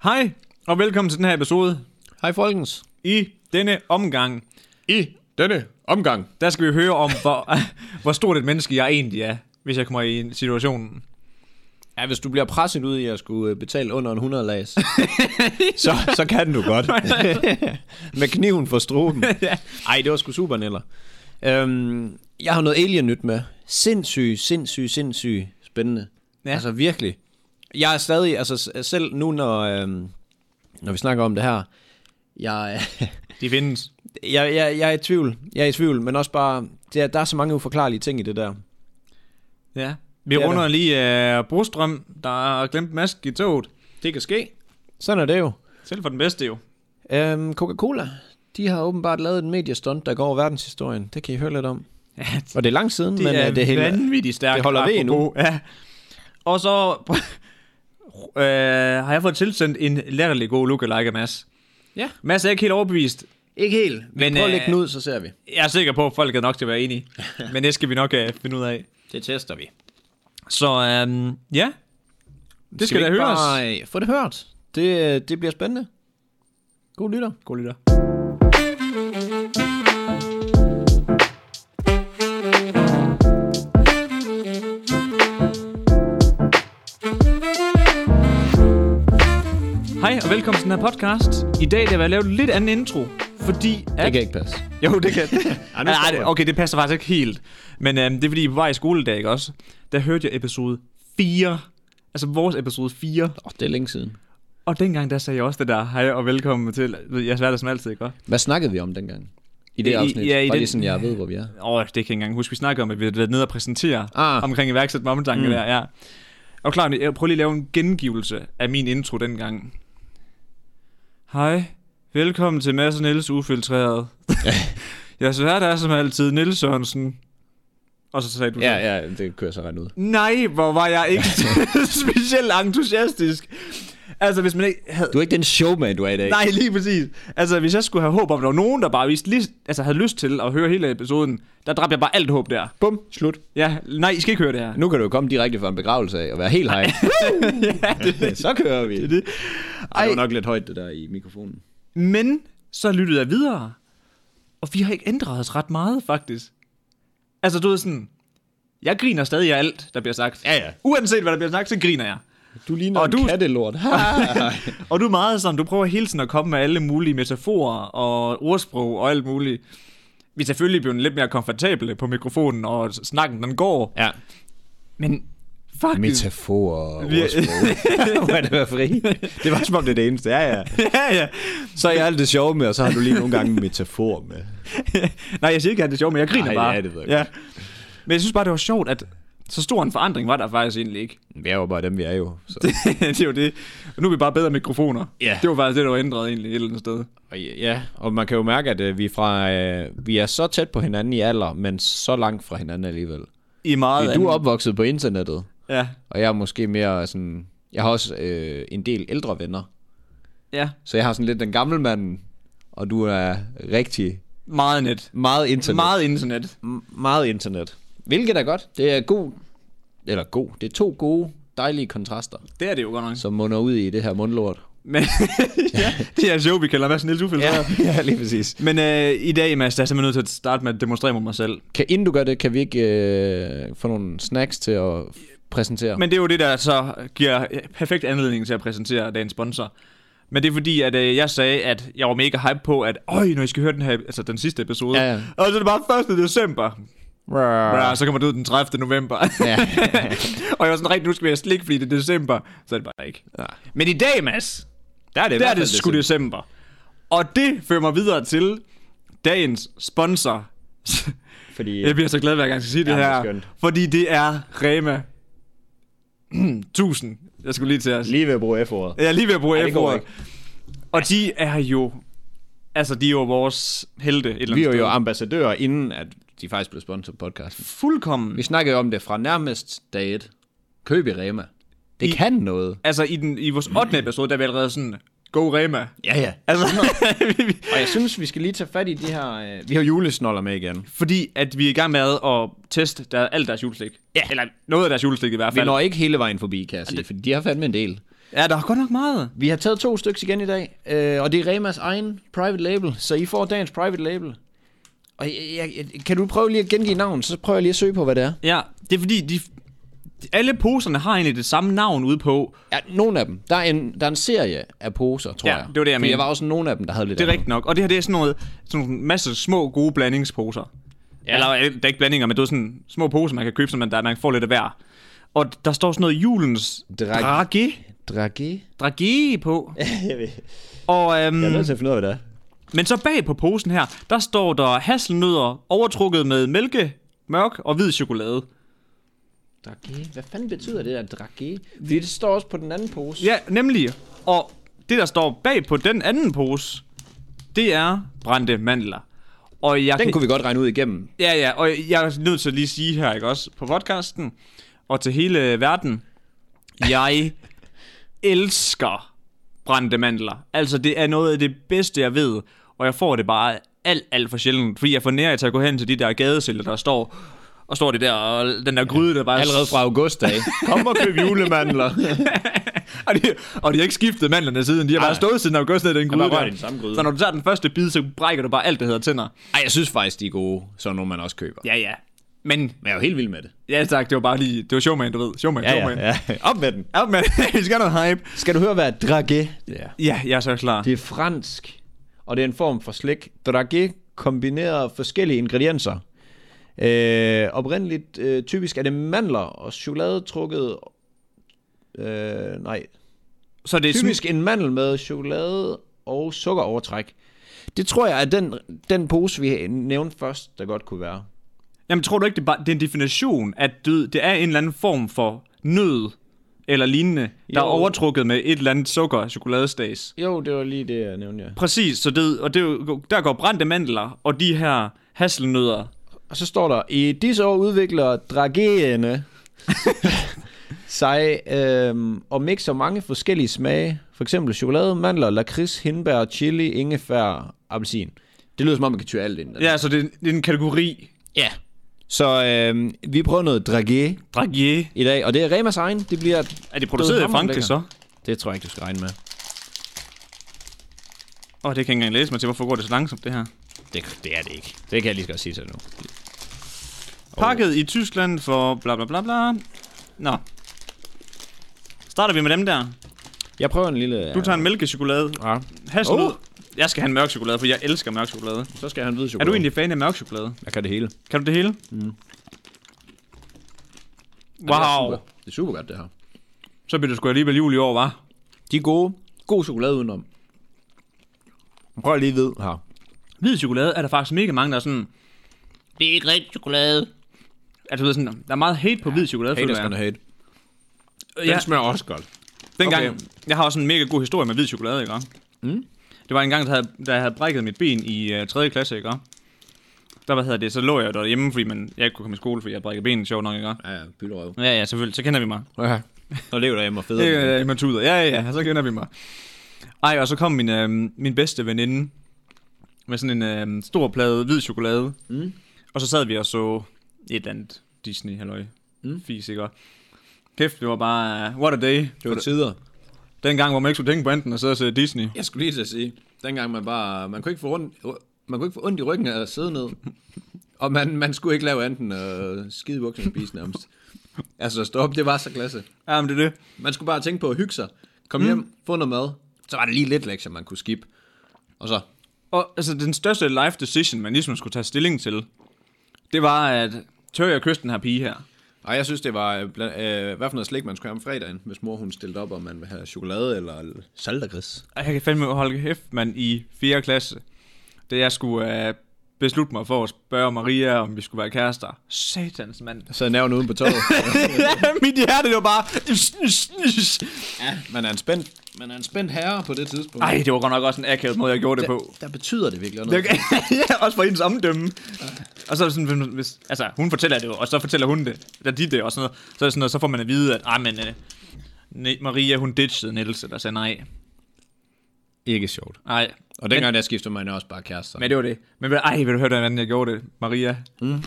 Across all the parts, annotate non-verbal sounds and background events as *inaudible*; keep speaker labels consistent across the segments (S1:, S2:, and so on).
S1: Hej, og velkommen til den her episode.
S2: Hej folkens.
S1: I denne omgang,
S2: I denne omgang.
S1: der skal vi høre om, hvor, *laughs* hvor stort et menneske jeg egentlig er, hvis jeg kommer i situationen.
S2: Ja, hvis du bliver presset ud i at skulle øh, betale under en 100 lags, *laughs* så, så kan du godt. *laughs* Med kniven for *laughs* struben. Ej, det var sgu super, Neller. Øhm, jeg har noget alien nyt med. Sindssyg, sindssyg, sindssyg spændende.
S1: Ja.
S2: Ja. Altså virkelig. Jeg er stadig, altså s- selv nu, når, øhm, når vi snakker om det her, jeg, *laughs*
S1: De findes.
S2: jeg, jeg, jeg er i tvivl. Jeg er i tvivl, men også bare, der, der er så mange uforklarlige ting i det der.
S1: Ja. Vi
S2: Det er
S1: runder
S2: der.
S1: lige uh, Brostrøm, der har glemt mask i toget.
S2: Det kan ske. Sådan er det jo.
S1: Selv for den bedste jo.
S2: Øhm, Coca-Cola, de har åbenbart lavet en mediestunt, der går over verdenshistorien. Det kan I høre lidt om.
S1: Ja,
S2: Og det er lang siden,
S1: *laughs* de
S2: men
S1: er,
S2: øh, det er helt...
S1: vanvittigt stærkt.
S2: det holder ved
S1: apropos. Ja. Og så *laughs* øh, har jeg fået tilsendt en latterlig god lookalike af Mads.
S2: Ja.
S1: Mads er ikke helt overbevist.
S2: Ikke helt. Vi
S1: Men,
S2: men, prøver at lægge
S1: øh,
S2: den ud, så ser vi.
S1: Jeg er sikker på, at folk er nok til at være *laughs* enige. Men det skal vi nok øh, finde ud af.
S2: Det tester vi.
S1: Så øhm, ja, det skal,
S2: vi
S1: da
S2: ikke
S1: høres.
S2: Bare, øh, få det hørt. Det, øh, det bliver spændende. God lytter.
S1: God lytter. Hej og velkommen til den her podcast. I dag der vil jeg lave en lidt anden intro, fordi at...
S2: Det kan ikke passe.
S1: Jo, det kan.
S2: *laughs* Ej,
S1: Ej,
S2: nu
S1: nej,
S2: stopper
S1: det-
S2: jeg.
S1: okay, det passer faktisk ikke helt. Men øhm, det er fordi, vi var i skoledag, ikke også? Der hørte jeg episode 4. Altså vores episode 4.
S2: Åh, det er længe siden.
S1: Og dengang der sagde jeg også det der, hej og velkommen til, jeg sværter som altid, ikke? Åh,
S2: Hvad snakkede vi om dengang? I
S1: I-
S2: det afsnit?
S1: ja, i
S2: Bare
S1: den-
S2: lige sådan, jeg ved, hvor vi er.
S1: oh, det kan jeg ikke engang huske, vi snakker om, at vi har været nede og præsentere
S2: Ah.
S1: omkring iværksæt med omtanke mm. der, ja. Og klart, jeg prøver lige at lave en gengivelse af min intro dengang. Hej, velkommen til Mads og Niels
S2: *laughs*
S1: Ufiltreret. jeg sværter er som altid, Niels Sørensen. Og så sagde du
S2: Ja, ja, det kører så ret ud.
S1: Nej, hvor var jeg ikke *laughs* specielt entusiastisk. Altså, hvis man ikke havde...
S2: Du er ikke den showman, du er i dag.
S1: Nej, lige præcis. Altså, hvis jeg skulle have håb om, at der var nogen, der bare viste, lige- altså, havde lyst til at høre hele episoden, der dræbte jeg bare alt håb der.
S2: Bum, slut.
S1: Ja, nej, I skal ikke høre det her.
S2: Nu kan du jo komme direkte fra en begravelse af og være helt *laughs* hej.
S1: ja, det,
S2: så kører vi.
S1: det.
S2: Ej, det
S1: Ej,
S2: var nok lidt højt, det der i mikrofonen.
S1: men så lyttede jeg videre, og vi har ikke ændret os ret meget, faktisk. Altså, du ved sådan, jeg griner stadig af alt, der bliver sagt.
S2: Ja, ja.
S1: Uanset hvad der bliver sagt, så griner jeg.
S2: Du ligner
S1: Og
S2: en
S1: du-
S2: *laughs* kattelort.
S1: Og du er meget sådan, du prøver hele tiden at komme med alle mulige metaforer og ordsprog og alt muligt. Vi er selvfølgelig blevet lidt mere komfortable på mikrofonen, og snakken den går.
S2: ja.
S1: Men fuck,
S2: Metaforer og
S1: Vi-
S2: *laughs* ordsprog. Må jeg da være fri? *laughs* Det var som om det er det eneste. Ja, ja.
S1: *laughs* ja, ja.
S2: Så er jeg alt det sjove med, og så har du lige nogle gange en metafor med.
S1: Nej, jeg siger ikke, at det er sjovt, men jeg griner
S2: Ej,
S1: bare.
S2: ja, det ved jeg
S1: ja. Men jeg synes bare, det var sjovt, at så stor en forandring var der faktisk egentlig ikke. *laughs*
S2: Vi er jo bare dem, vi er jo. Så.
S1: det er jo det. Og nu er vi bare bedre mikrofoner.
S2: Ja.
S1: Det var faktisk det, der var ændret egentlig et eller andet sted.
S2: Og Ja, og man kan jo mærke, at øh, vi er, fra, øh, vi er så tæt på hinanden i alder, men så langt fra hinanden alligevel.
S1: I meget
S2: Fordi Du er opvokset på internettet,
S1: Ja.
S2: og jeg er måske mere sådan... Jeg har også øh, en del ældre venner,
S1: ja,
S2: så jeg har sådan lidt den gamle mand, og du er rigtig
S1: meget net.
S2: meget internet.
S1: Meget internet.
S2: M- meget internet. Hvilket er godt. Det er god, eller god, det er to gode, dejlige kontraster,
S1: Det er det jo godt nok.
S2: som munder ud i det her mundlort.
S1: Men *laughs* ja, det er sjovt, vi kalder Mads Niels Ufiltreret.
S2: *laughs* ja, lige præcis.
S1: Men øh, i dag, Mads, der er jeg simpelthen nødt til at starte med at demonstrere mod mig selv.
S2: Kan, inden du gør det, kan vi ikke øh, få nogle snacks til at f- præsentere?
S1: Men det er jo det, der så giver perfekt anledning til at præsentere dagens sponsor. Men det er fordi, at øh, jeg sagde, at jeg var mega hype på, at øj, når I skal høre den her, altså den sidste episode.
S2: Ja, ja.
S1: Og så er det bare 1. december. Ja,
S2: Rar.
S1: så kommer det ud den 30. november.
S2: Ja.
S1: *laughs* og jeg var sådan rigtig, nu skal vi have slik, fordi det er december. Så er det bare ikke.
S2: Nej.
S1: Men i dag, Mads,
S2: Der er det, i
S1: der er
S2: hvert
S1: det
S2: fald
S1: sgu december. Og det fører mig videre til dagens sponsor.
S2: Fordi
S1: Jeg bliver så glad, hver gang jeg skal sige det
S2: Ja, det er
S1: her.
S2: skønt.
S1: fordi det er Rema *clears throat* 1000. Jeg skulle lige til at...
S2: lige ved at bruge F-ordet.
S1: Jeg er lige ved at bruge
S2: Ej,
S1: f
S2: det går
S1: ordet Og de er jo... Altså, de er jo vores helte et eller andet
S2: Vi er jo
S1: sted.
S2: ambassadører, inden at de faktisk blev sponsor på podcasten.
S1: fuldkommen...
S2: Vi snakkede jo om det fra nærmest dag et. Køb i Rema. Det
S1: I-
S2: kan noget.
S1: Altså, i, den, i vores 8. episode, der er vi allerede sådan... Go Rema.
S2: Ja, ja.
S1: Altså,
S2: Og jeg synes, vi skal lige tage fat i de her... Øh... Vi har julesnoller med igen.
S1: *laughs* fordi at vi er i gang med at teste der, alt deres juleslik. Ja. Eller noget af deres juleslik i hvert
S2: Vi
S1: fald.
S2: når ikke hele vejen forbi, kan jeg sige, for de har fandme en del.
S1: Ja, der er godt nok meget.
S2: Vi har taget to stykker igen i dag, øh, og det er Remas egen private label, så I får dagens private label. Og jeg, jeg, kan du prøve lige at gengive navnet, så prøver jeg lige at søge på, hvad det er.
S1: Ja, det er fordi, de, alle poserne har egentlig det samme navn ude på.
S2: Ja, nogle af dem. Der er en, der er en serie af poser, tror
S1: Ja,
S2: jeg.
S1: det var det, jeg
S2: Fordi
S1: mente.
S2: Jeg var også nogle af dem, der havde lidt
S1: Det er
S2: andet.
S1: rigtigt nok. Og det her, det er sådan noget, sådan en masse små, gode blandingsposer. Ja. Eller, øh, der er ikke blandinger, men det er sådan små poser, man kan købe, så man, der, man får lidt af hver. Og der står sådan noget julens
S2: Drag-
S1: drage,
S2: Dragé?
S1: drage *laughs* på.
S2: *laughs* jeg ved.
S1: Og, øhm,
S2: til at finde ud af, hvad det er.
S1: Men så bag på posen her, der står der hasselnødder overtrukket med mælke, mørk og hvid chokolade.
S2: Dragé? Hvad fanden betyder det der dragé? Fordi det står også på den anden pose.
S1: Ja, nemlig. Og det, der står bag på den anden pose, det er brændte mandler. Og jeg
S2: Den
S1: kan,
S2: kunne vi godt regne ud igennem.
S1: Ja, ja, og jeg er nødt til at lige sige her, ikke også, på podcasten og til hele verden, jeg elsker brændte mandler. Altså, det er noget af det bedste, jeg ved, og jeg får det bare alt, alt for sjældent, fordi jeg får nær til at gå hen til de der gadesælger, der står, og står det der, og den der gryde, der bare...
S2: Allerede fra august af. *laughs* Kom og køb julemandler.
S1: *laughs* og, de, og de har ikke skiftet mandlerne siden, de har bare
S2: Ej.
S1: stået siden august ned i den gryde
S2: bare rørt
S1: der.
S2: i den samme gryde.
S1: Så når du tager den første bid, så brækker du bare alt, det hedder tænder.
S2: Ej, jeg synes faktisk, de er gode, så nogle man også køber.
S1: Ja, ja. Men,
S2: Men jeg er jo helt vild med det.
S1: ja tak, det var bare lige, det var showman, du ved. Showman, showman.
S2: Op med den.
S1: Ja, men *laughs* vi skal have noget hype.
S2: Skal du høre, hvad dragé det er?
S1: Ja, jeg er så klar.
S2: Det er fransk, og det er en form for slik. Dragé kombinerer forskellige ingredienser. Øh, oprindeligt øh, typisk er det mandler og chokolade trukket... Øh, nej.
S1: Så det er
S2: Typisk en mandel med chokolade og sukkerovertræk. Det tror jeg er den, den pose, vi nævnte først, der godt kunne være.
S1: Sådan, jamen, tror du ikke, det er, bare, det er en definition, at død, det er en eller anden form for nød eller lignende, der er
S2: Jo.
S1: overtrukket med et eller andet sukker chokoladestas.
S2: Jo, det var lige det, jeg nævnte, ja.
S1: Præcis, så det, og det, er jo- der går brændte mandler og de her hasselnødder.
S2: Og så står der, i disse år udvikler *laughs* dragéerne sig øhm, og mixer mange forskellige smage. For eksempel chokolade, mandler, lakrids, hindbær, chili, ingefær, appelsin. Det lyder som om, man kan tyre alt ind.
S1: Ja, så det, er en- det er en kategori.
S2: ja. Så øhm, vi prøver noget dragé
S1: Dragier.
S2: i dag, og det er Remas egen. Det bliver...
S1: Er det produceret i
S2: hammerende
S1: Frankrig så?
S2: Det tror jeg ikke, du skal regne med.
S1: Åh, oh, det kan jeg ikke engang læse mig til. Hvorfor går det så langsomt, det her?
S2: Det, det er det ikke. Det kan jeg lige så godt sige til dig nu.
S1: Pakket i Tyskland for bla bla bla bla. Nå. Starter vi med dem der.
S2: Jeg prøver en lille... øh,
S1: Du tager en mælkechokolade.
S2: Ja.
S1: Hasselnød.
S2: Oh.
S1: Oh. Jeg skal have en mørk chokolade, for jeg elsker mørk chokolade.
S2: Så skal han vide
S1: Er
S2: chokolade.
S1: du egentlig fan af mørk chokolade?
S2: Jeg kan det hele.
S1: Kan du det hele?
S2: Mm.
S1: Wow.
S2: Det er super godt, det her.
S1: Så bliver det sgu alligevel jul i år, var.
S2: De er gode. God chokolade udenom. Prøv lige ved her.
S1: Hvid chokolade er der faktisk mega mange, der er sådan... Det er ikke rigtig chokolade. Altså, du ved, sådan, der er meget hate på ja, hvid chokolade,
S2: Haters
S1: jeg.
S2: gonna hate. Den
S1: Ja,
S2: smager også godt.
S1: dengang,
S2: okay.
S1: okay. jeg har også en mega god historie med hvid chokolade, ikke? Mm. Det var en gang, der havde, da jeg havde brækket mit ben i uh, 3. klasse, ikke? Der, hvad hedder det, så lå jeg derhjemme, fordi man, jeg ikke kunne komme i skole, fordi jeg havde brækket benet, sjovt nok, ikke?
S2: Ja, ja, pylderøv.
S1: Ja, ja, selvfølgelig. Så kender vi mig.
S2: Ja. Så lever der hjemme og federe.
S1: Ja, ja, man tuder. Ja, ja, ja, så kender vi mig. Ej, og så kom min, øh, min bedste veninde med sådan en øh, stor plade hvid chokolade.
S2: Mm.
S1: Og så sad vi og så et eller andet Disney, halløj.
S2: Mm.
S1: Mm. Fis, ikke? Og Kæft, det var bare, uh, what a day.
S2: Det var tider.
S1: Den gang, hvor man ikke skulle tænke på enten at sidde og se Disney.
S2: Jeg skulle lige til at sige, dengang man bare, man kunne ikke få rundt, man kunne ikke få ondt i ryggen af at sidde ned. Og man, man skulle ikke lave andet end øh, skide i bukserne og spise nærmest. Altså stop, det var så klasse.
S1: Ja, men det er det.
S2: Man skulle bare tænke på at hygge sig. Kom mm. hjem, få noget mad. Så var det lige lidt lektier, man kunne skip. Og så,
S1: Og altså, den største life decision, man ligesom skulle tage stilling til, det var, at tør jeg kysse den her pige her?
S2: Ej, jeg synes, det var, øh, bland- øh, hvad for noget slik, man skulle have om fredagen, hvis mor hun stillede op, om man vil have chokolade eller saltergris.
S1: Ej, Jeg kan fandme holde kæft, mand, i 4. klasse, da jeg skulle øh, beslutte mig for at spørge Maria, om vi skulle være kærester. Satans, mand.
S2: Så nævn uden på toget.
S1: *laughs* Mit hjerte, det var bare... Is, is, is.
S2: man, er en spændt, man er en spændt herre på det tidspunkt.
S1: Ej, det var godt nok også en akavet måde, jeg gjorde det på.
S2: Der betyder det virkelig noget.
S1: Det, *laughs* ja, også for hendes omdømme. Og så er det sådan, hvis- hvis, altså, hun fortæller det jo, og så fortæller hun det, eller de det, og sådan noget. Så er det sådan noget, så får man at vide, at, ej, men, øh, ne, Maria, hun ditchede Niels, eller sagde nej.
S2: Ikke sjovt.
S1: Nej,
S2: Og dengang der skiftede man også bare kærester.
S1: Men det var det. Men ved- ej, vil du høre, hvordan jeg gjorde det, Maria? Mm.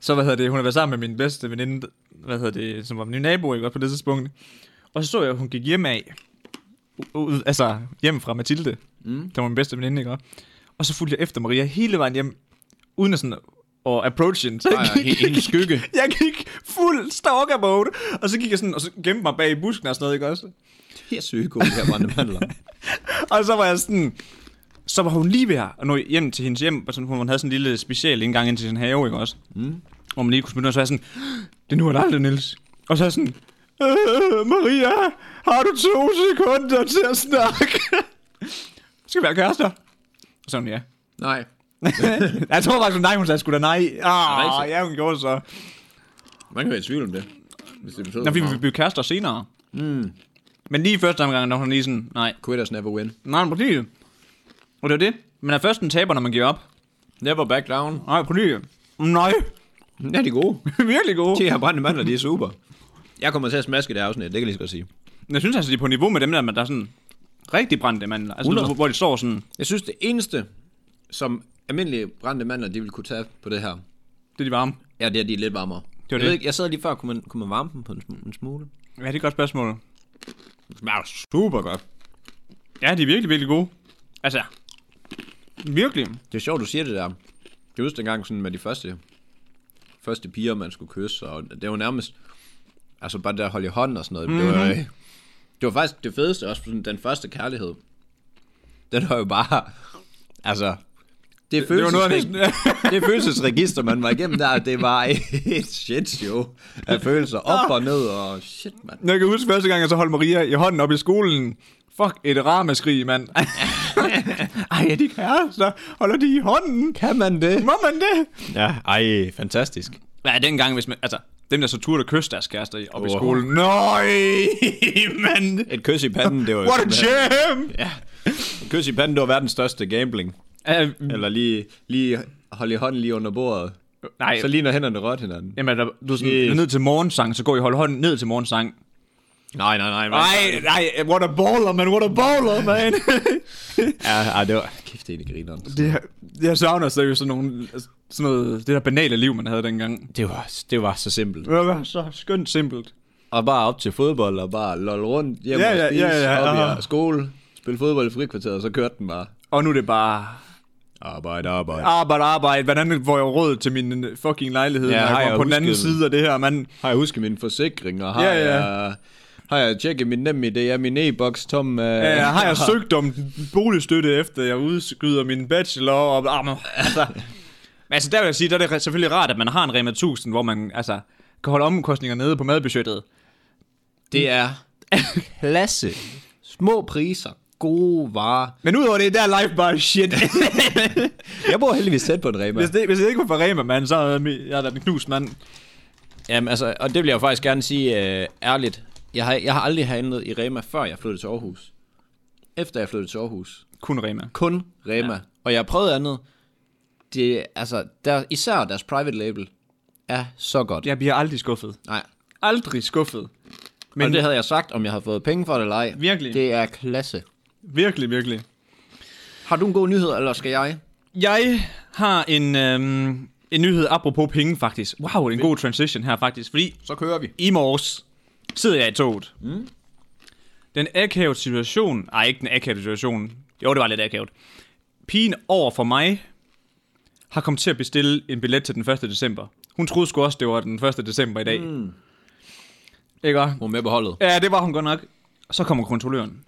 S1: Så, hvad hedder det, hun har været sammen med min bedste veninde, hvad hedder det, som var min nabo, ikke, også på det tidspunkt. Og så så jeg, at hun gik hjem af. ud, altså hjem fra Mathilde. Mm. Der var min bedste veninde, ikke? også? Og så fulgte jeg efter Maria hele vejen hjem, uden at sådan og approach hende. Så
S2: Ej, ej, he- hendes skygge.
S1: *laughs* Jeg gik fuld stalker mode, og så gik jeg sådan, og så gemte mig bag i busken og sådan noget, ikke også?
S2: Her psyko, det her brændte
S1: *laughs*
S2: mandler.
S1: Og så var jeg sådan... Så var hun lige ved at nå hjem til hendes hjem, og sådan, hun havde sådan en lille special indgang ind til sin have, ikke også? Mm. Hvor man lige kunne smide noget, så var jeg sådan, det er nu eller aldrig, Niels. Og så er jeg sådan, øh, Maria, har du to sekunder til at snakke? *laughs* Skal vi være kærester? Og så er hun, ja. *laughs*
S2: Nej.
S1: jeg tror faktisk, hun nej, hun sagde sgu da nej. Ah,
S2: rigtigt?
S1: ja, hun gjorde så.
S2: Man kan være i tvivl om det. Hvis det betyder
S1: Nå, vi vil
S2: så meget.
S1: blive kærester senere. Mm. Men lige første omgang, når hun lige sådan, nej,
S2: Quitters never win.
S1: nej, men præcis. Og det er det. Man er først en taber, når man giver op.
S2: Never back down.
S1: Nej, præcis. Nej, *laughs*
S2: Ja, de er gode.
S1: virkelig gode.
S2: De her brændte mandler, de er super. Jeg kommer til at smaske det afsnit, det kan jeg lige så godt sige.
S1: Jeg synes altså, de er på niveau med dem der, man der er sådan rigtig brændte mandler. Altså,
S2: 100.
S1: hvor, hvor de står sådan,
S2: Jeg synes, det eneste, som almindelige brændte mandler, de ville kunne tage på det her,
S1: det er de varme.
S2: ja, det er, de er lidt varmere. Det jeg,
S1: det.
S2: Ved ikke, jeg sad lige før, kunne man, kunne man varme dem på en, sm- en smule?
S1: Ja, det er et godt spørgsmål.
S2: Det smager super godt.
S1: Ja, de er virkelig, virkelig gode. Altså, virkelig.
S2: Det er sjovt, du siger det der. Jeg husker dengang sådan med de første, første piger, man skulle kysse, og det var nærmest, altså bare det der at holde i hånden og sådan noget. Mm-hmm. Det, var, øh,
S1: Mhm.
S2: det var faktisk det fedeste, også sådan, den første kærlighed. Den var jo bare, altså, det,
S1: det var noget af det- *laughs*
S2: det, det følelsesregister, man var igennem der, det var et shit show af følelser op og ned, og shit, mand.
S1: Jeg kan huske første gang, jeg så holdt Maria i hånden op i skolen. Fuck, et ramaskrig, *laughs* mand. Ej, er de kærester? Holder de i hånden?
S2: Kan man det?
S1: Må man det?
S2: Ja, ej, fantastisk.
S1: Ja, dengang, hvis man... Altså, dem der så turde kysse deres kærester i- op oh. i
S2: Åh.
S1: skolen. Nøj, *laughs* mand.
S2: Et kys i panden, det var jo
S1: What a
S2: simpelthen-
S1: gem!
S2: Ja. Et kys i panden, det var verdens største gambling.
S1: Uh,
S2: Eller lige, lige holde i hånden lige under bordet.
S1: nej,
S2: Så lige når hænderne rørte hinanden.
S1: Jamen, der, du er sådan,
S2: Yes.
S1: yes. ned til morgensang, så går I og holder hånden ned til morgensang.
S2: Nej, nej, nej.
S1: Nej, nej, what a baller, man, what a baller, man.
S2: Ja, ja, det var... Kæft, det er egentlig grineren.
S1: *laughs* det, jeg savner seriøst sådan, nogle, sådan noget, det der banale liv, man havde dengang.
S2: Det var, det var så simpelt.
S1: Det var så skønt simpelt.
S2: Og bare op til fodbold, og bare lol rundt, hjem
S1: Ja,
S2: og
S1: ja,
S2: spise,
S1: ja, ja,
S2: op i
S1: ah.
S2: jeres skole, spille fodbold i frikvarteret, og så kørte den bare.
S1: Og nu er det bare
S2: Arbejde, arbejde.
S1: arbejde, arbejde. Hvordan får jeg råd til min fucking lejlighed, ja,
S2: Ja,
S1: når
S2: har
S1: jeg
S2: jeg
S1: kommer på den
S2: husket
S1: anden
S2: det?
S1: side af det her, mand?
S2: Har jeg husket min forsikring, og har
S1: Ja, ja.
S2: jeg... Har jeg tjekket min nem idé, er min e-boks tom? Uh...
S1: Ja, har jeg søgt om boligstøtte, efter jeg udskyder min bachelor? Og, ah, men, altså, men altså, der vil jeg sige, der er det selvfølgelig rart, at man har en Rema 1000, hvor man altså, kan holde omkostninger nede på madbudgettet.
S2: Det er klasse. Små priser. Gode varer.
S1: Men udover det, der er life bare *laughs* shit.
S2: Jeg bor heldigvis tæt på en Rema.
S1: hvis, det, hvis det ikke var for Rema, mand, så er jeg- jeg er da en knust mand.
S2: Jamen altså, og det vil jeg jo faktisk gerne sige øh, ærligt. Jeg har, jeg har aldrig handlet i Rema, før jeg flyttede til Aarhus. Efter jeg flyttede til Aarhus.
S1: Kun Rema.
S2: Kun Rema. Ja. Og jeg har prøvet andet. Det, altså, der, især deres private label er så godt.
S1: Jeg bliver aldrig skuffet.
S2: Nej.
S1: Aldrig skuffet.
S2: Men
S1: Men-
S2: og det havde jeg sagt, om jeg havde fået penge for det eller ej.
S1: Virkelig.
S2: Det er klasse.
S1: Virkelig, virkelig.
S2: Har du en god nyhed, eller skal jeg?
S1: Jeg har en, øhm, en nyhed apropos penge, faktisk. Wow, en god transition her, faktisk. Fordi
S2: Så kører vi.
S1: i morges sidder jeg i toget. Mm. Den akavet situation... Ej, ikke den akavet situation. Jo, det var lidt akavet. Pigen over for mig har kommet til at bestille en billet til den 1. december. Hun troede sgu også, det var den 1. december i dag. Mm. Ikke også?
S2: Hun er med på holdet.
S1: Ja, det var hun godt nok. Og så kommer kontrolløren.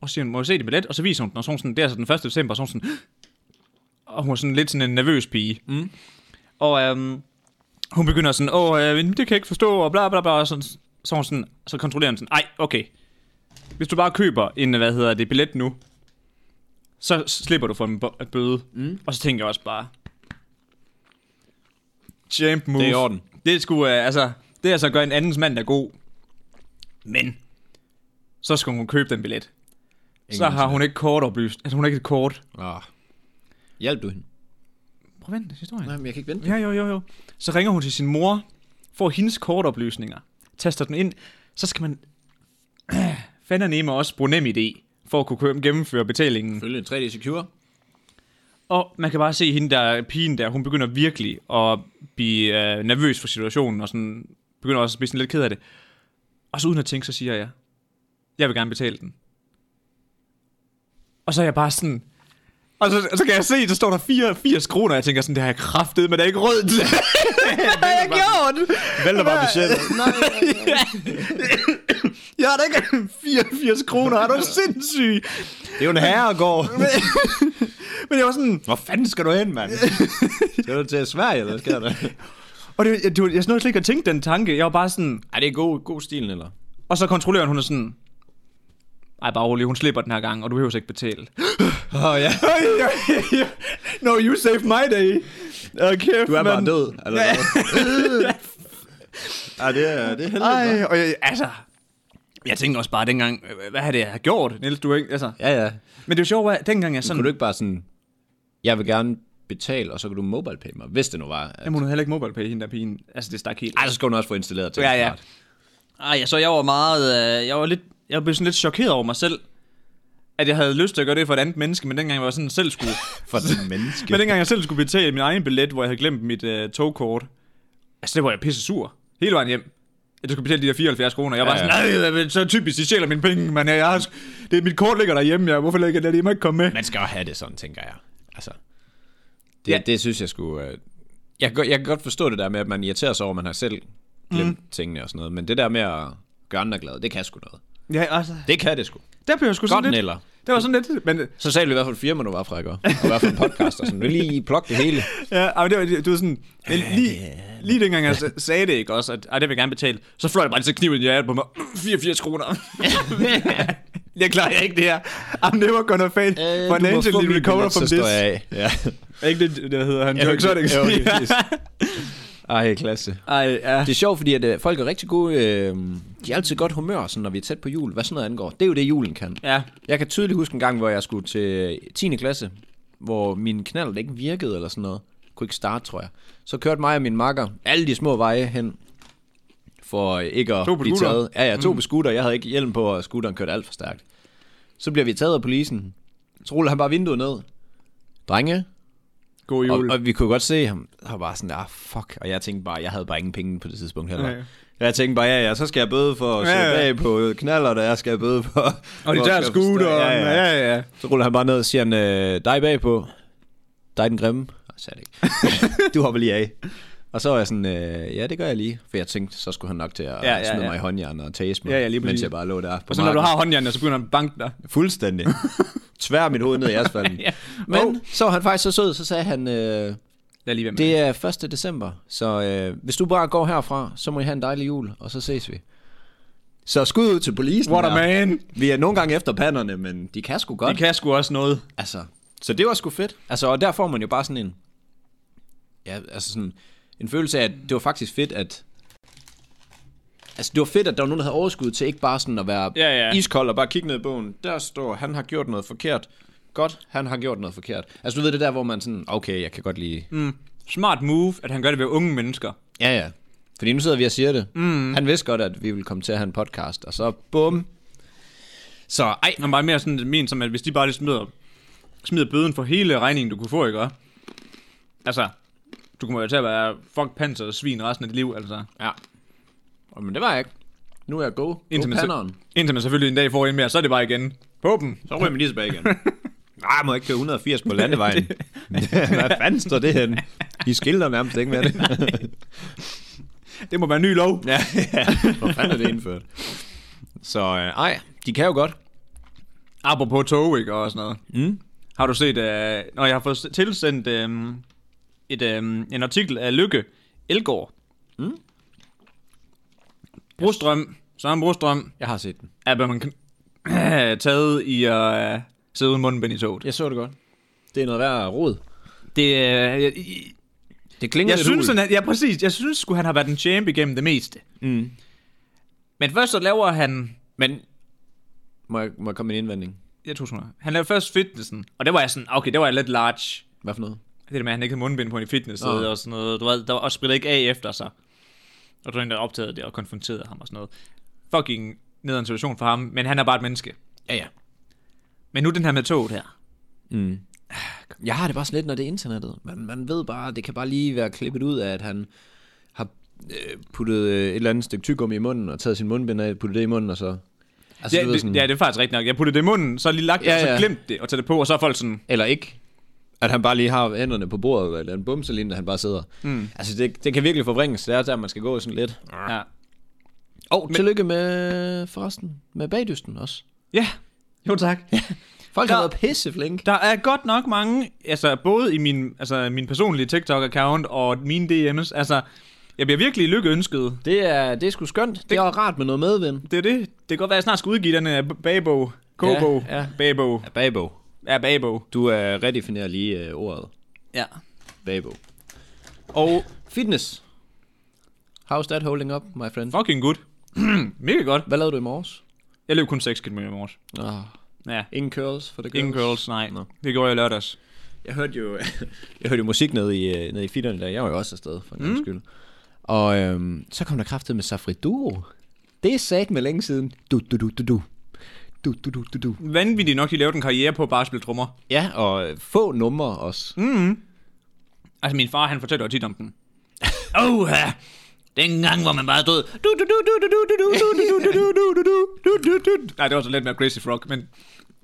S1: Og siger, hun, må jeg se din billet? Og så viser hun den, og så er hun sådan, det er altså den 1. december, og så er hun sådan, og hun er sådan lidt sådan en nervøs pige. Mm. Og øhm, hun begynder sådan, åh, øh, men det kan jeg ikke forstå, og bla bla bla, og sådan, så, er hun sådan, så kontrollerer hun sådan, ej, okay, hvis du bare køber en, hvad hedder det, billet nu, så slipper du for en bo- bøde. Mm. Og så tænker jeg også bare, champ move.
S2: Det er i orden.
S1: Det er sgu, øh, altså, det er altså at gøre en andens mand, der er god. Men, så skal hun købe den billet. Ingen så har hun ikke kort oplyst. Altså, hun har ikke et kort.
S2: Ah. Hjælp du hende?
S1: Prøv at vente, historien.
S2: Nej, men jeg kan ikke vente.
S1: Ja, jo, jo, jo. Så ringer hun til sin mor, får hendes kortoplysninger, taster den ind, så skal man *clears throat* fanden nemme også bruge nem idé for at kunne kø- gennemføre betalingen.
S2: Følge 3D Secure.
S1: Og man kan bare se hende der, pigen der, hun begynder virkelig at blive øh, nervøs for situationen, og sådan, begynder også at blive sådan lidt ked af det. Og så uden at tænke, så siger jeg, jeg vil gerne betale den. Og så er jeg bare sådan... Og så, og så kan jeg se, der står der 84 kroner, og jeg tænker sådan, det har jeg kraftet, men det er ikke råd til. *laughs*
S2: Hvad har jeg gjort?
S3: Vælter bare
S2: *laughs*
S3: budgettet.
S1: jeg har da ikke 84 kroner, er du sindssyg?
S2: Det er jo en
S1: *laughs*
S2: herregård.
S1: Men jeg var sådan,
S2: Hvor fanden skal du hen, mand? Skal du til Sverige, eller hvad sker der?
S1: og det, jeg, det var, jeg nåede slet ikke at tænke den tanke. Jeg var bare sådan,
S2: Ej, det er god, god stil, eller?
S1: og så kontrolløren, hun er sådan, ej, bare rolig, hun slipper den her gang, og du behøver så ikke betale.
S2: Åh, oh, ja.
S1: no, you saved my day. Uh, kæft,
S2: Du er bare
S1: mand.
S2: død, eller hvad? *laughs* Ej, det er, det er heldigt.
S1: Ej, og jeg, altså... Jeg tænkte også bare dengang, øh, hvad har det, jeg har gjort, Niels? Du er ikke, altså...
S2: Ja, ja.
S1: Men det var sjovt, at dengang jeg sådan...
S2: Kunne du ikke bare sådan, jeg vil gerne betale, og så kan du mobile pay mig, hvis det nu var. At...
S1: Jamen, hun havde heller ikke mobile pay, hende der pigen. Altså, det stak helt.
S2: Ej, så skal hun også få installeret til.
S1: Ja, ja. Ej, ja, så jeg var meget... Øh, jeg var lidt... Jeg blev sådan lidt chokeret over mig selv. At jeg havde lyst til at gøre det for et andet menneske, men dengang jeg var sådan selv skulle...
S2: For den menneske.
S1: men dengang jeg selv skulle betale min egen billet, hvor jeg havde glemt mit øh, togkort. Altså, det var jeg pisse sur. Hele vejen hjem. Jeg skulle betale de der 74 kroner. Jeg var
S2: Ja,
S1: ja, ja. sådan, nej, men så typisk, de sjæler mine penge, men øh, jeg, jeg har, det er mit kort ligger derhjemme, jeg, hvorfor ligger det, de må ikke komme med?
S2: Man skal jo have det sådan, tænker jeg. Altså, det, ja.
S1: Ja.
S2: det synes jeg skulle... Øh... Jeg, kan, godt- jeg kan godt forstå det der med, at man irriterer sig over, at man har selv glemt mm. tingene og sådan noget, men det der med at gøre andre glade, det kan sgu noget.
S1: Ja, altså,
S2: Det kan det sgu.
S1: Der blev jeg sgu
S2: Godt,
S1: sådan lidt...
S2: eller?
S1: Det var sådan lidt... Men,
S2: Så sagde du i hvert fald firma, du var fra, ikke? Og i hvert fald en podcast og sådan. Du lige plukke det hele.
S1: ja, ej, men det var, du var sådan... Men lige, lige dengang jeg s- sagde det, ikke også, at ej, det vil jeg gerne betale, så fløj jeg bare lige så kniven i hjertet
S2: *laughs*
S1: på mig. 84 kroner.
S2: Øh,
S1: jeg klarer ikke det her. I'm never gonna fail. Øh, Financially recover from this.
S2: Jeg af. Ja.
S1: Er ikke det, der hedder han?
S2: Jo,
S1: Dirk Sonic.
S2: jo, lige præcis. Ej, klasse.
S1: Ej, ja.
S2: Det er sjovt, fordi at, øh, folk er rigtig gode... Øh, de er altid godt humør, sådan, når vi er tæt på jul. Hvad sådan noget angår. Det er jo det, julen kan.
S1: Ja.
S2: Jeg kan tydeligt huske en gang, hvor jeg skulle til 10. klasse, hvor min knald ikke virkede eller sådan noget. Kunne ikke starte, tror jeg. Så kørte mig og min makker alle de små veje hen for øh, ikke at
S1: To på
S2: blive
S1: scooter.
S2: taget. Ja, ja, to mm. på scooter. Jeg havde ikke hjelm på, og scooteren kørte alt for stærkt. Så bliver vi taget af polisen. Så ruller han bare vinduet ned. Drenge,
S1: God
S2: og,
S1: jul.
S2: og vi kunne godt se ham, og bare sådan, ah fuck, og jeg tænkte bare, jeg havde bare ingen penge på det tidspunkt heller.
S1: Ja, ja.
S2: Jeg tænkte bare, ja ja, så skal jeg bøde for at
S1: Ja,
S2: sidde
S1: ja.
S2: bag på knaller, der jeg skal bøde for.
S1: og de
S2: for at
S1: der
S2: køre for
S1: scooter.
S2: stærkt.
S1: Ja, ja, ja. ja.
S2: Så ruller han bare ned og siger han, øh, dig bagpå, dig den grimme. Og så er det ikke. *laughs* du hopper lige af. Og så var jeg sådan, øh, ja det gør jeg lige, for jeg tænkte, så skulle han nok til at ja, ja, smide ja. mig i håndjernet og tase mig,
S1: Ja, ja, lige
S2: mens
S1: præcis.
S2: jeg bare lå der på
S1: Og så når du har håndjernet, så begynder han at banke dig. *laughs*
S2: Fuldstændig. Tvær mit hoved ned i asfalten. ja. Men
S1: Oh.
S2: så var han faktisk så sød, så sagde han, øh,
S1: Lad lige være med.
S2: det er 1. december, så øh, hvis du bare går herfra, så må I have en dejlig jul, og så ses vi. Så skud ud til polisen
S1: What a
S2: her.
S1: man.
S2: Vi er nogle gange efter panderne, men de kan sgu godt.
S1: De kan sgu også noget.
S2: Altså, så det var sgu fedt. Altså, og der får man jo bare sådan en... Ja, altså sådan en følelse af, at det var faktisk fedt, at... Altså, det var fedt, at der var nogen, der havde overskud til ikke bare sådan at være
S1: Ja, ja.
S2: iskold og bare kigge ned i bogen. Der står, han har gjort noget forkert. Godt, han har gjort noget forkert. Altså, du ved det der, hvor man sådan, okay, jeg kan godt lide... Mm.
S1: Smart move, at han gør det ved unge mennesker.
S2: Ja, ja. Fordi nu sidder vi og siger det. Mm. Han vidste godt, at vi ville komme til at have en podcast, og så bum. Så ej,
S1: Han var mere sådan men som, at hvis de bare lige smider, smider bøden for hele regningen, du kunne få, ikke? også? Altså, du kommer jo til at være fuck panser og svin resten af dit liv, altså.
S2: ja. Men det var jeg ikke. Nu er jeg go. Indtil
S1: Indtil
S2: go
S1: man,
S2: panderen.
S1: se, indtil man selvfølgelig en dag får en mere, så er det bare igen. På dem.
S2: Så ryger man lige tilbage igen. *laughs* Nej, må ikke køre 180 på *laughs* landevejen. Hvad fanden står det henne? De skilter nærmest ikke *laughs* med det.
S1: Det må være en ny lov.
S2: ja, ja. Hvor fanden er det indført? Så øh, ej, de kan jo godt.
S1: Apropos tog, ikke? Og sådan noget. Mm. Har du set, øh, når jeg har fået tilsendt øh, et, øh, en artikel af Lykke Elgård. Mm. Brostrøm, Søren Brostrøm,
S2: Jeg har set den.
S1: er hvad man kan- *clears throat* taget i at øh, sidde uden mundbind i toget.
S2: Jeg så det godt. Det er noget værd rod.
S1: Det, øh, jeg, jeg,
S2: Det klinger
S1: jeg
S2: lidt
S1: synes,
S2: hult.
S1: han, er- ja, præcis. Jeg synes, skulle han har været en champ igennem det meste.
S2: Mm.
S1: Men først så laver han...
S2: Men må jeg, må jeg komme med en indvending?
S1: Jeg tror, sådan Han laver først fitnessen, og det var jeg sådan, okay, det var jeg lidt large.
S2: Hvad for noget?
S1: Det der med, at han ikke havde mundbind på en i fitness oh.
S2: Nå.
S1: og sådan noget. Du ved, der var, og spillede ikke af efter sig. Og der var en, der opdagede det og konfronterede ham og sådan noget. Fucking nederen situation for ham, men han er bare et menneske.
S2: Ja, ja.
S1: Men nu den her med toget her.
S2: Mm. Jeg har det bare sådan lidt, når det er internettet. Man, man ved bare, det kan bare lige være klippet ud af, at han har øh, puttet øh, et eller andet stykke tyggegummi i munden, og taget sin mundbind af, puttet det i munden, og så... Altså,
S1: Ja,
S2: du ved, sådan,
S1: det, ja, det er faktisk rigtigt nok. Jeg puttede det i munden, så lige lagt det,
S2: Ja,
S1: ja, og så
S2: ja.
S1: glemt det, og tager det på, og så er folk sådan...
S2: Eller ikke. At han bare lige har hænderne på bordet, eller en bumseline, han bare sidder. Mm. Altså, det, det kan virkelig forvrænges. Det er der, man skal gå sådan lidt.
S1: Ja.
S2: Og oh, tillykke med, forresten, med bagdysten også.
S1: ja. Jo tak.
S2: Folk har
S1: Der-
S2: været pisseflink.
S1: Der er godt nok mange, altså både i min, altså, min personlige TikTok-account og mine DM's, altså jeg bliver virkelig lykkeønsket.
S2: Det er, det er sgu skønt. Det, det er rart med noget medvind.
S1: Det er det. Det kan godt være, at jeg snart skal udgive den her bagbog. Kogbog.
S2: Ja, ja.
S1: Bagbog.
S2: Ja, Babo.
S1: Ja, bagbog.
S2: Du øh, redefinerer lige øh, ordet.
S1: Ja.
S2: Babo. Og fitness. How's that holding up, my friend?
S1: Fucking good. Mega godt.
S2: Hvad lavede du i morges?
S1: Jeg løb kun 6 km i morges.
S2: Oh,
S1: Ja.
S2: ingen curls for the girls.
S1: Ingen girls, nej.
S2: Nå.
S1: Det gjorde jeg i lørdags.
S2: Jeg hørte jo, *laughs* jeg hørte jo musik nede i, øh, nede i fitterne der. Jeg var jo også afsted, for en mm. skyld. Og øhm, så kom der kraftet med Safri Duo. Det er sat med længe siden. Du, du, du, du, du. Du, du, du, du, du.
S1: Vanvittigt nok, de lavede en karriere på bare at spille trommer.
S2: Ja, og øh, få numre også. Mm.
S1: Altså min far, han fortæller jo tit om den. Åh, ja. Den gang, hvor man bare stod... Du, du, du, du, du, du, du, du, du, du, du, du, du, du, du, du, du, du. Nej, det var så lidt mere Crazy Frog, men...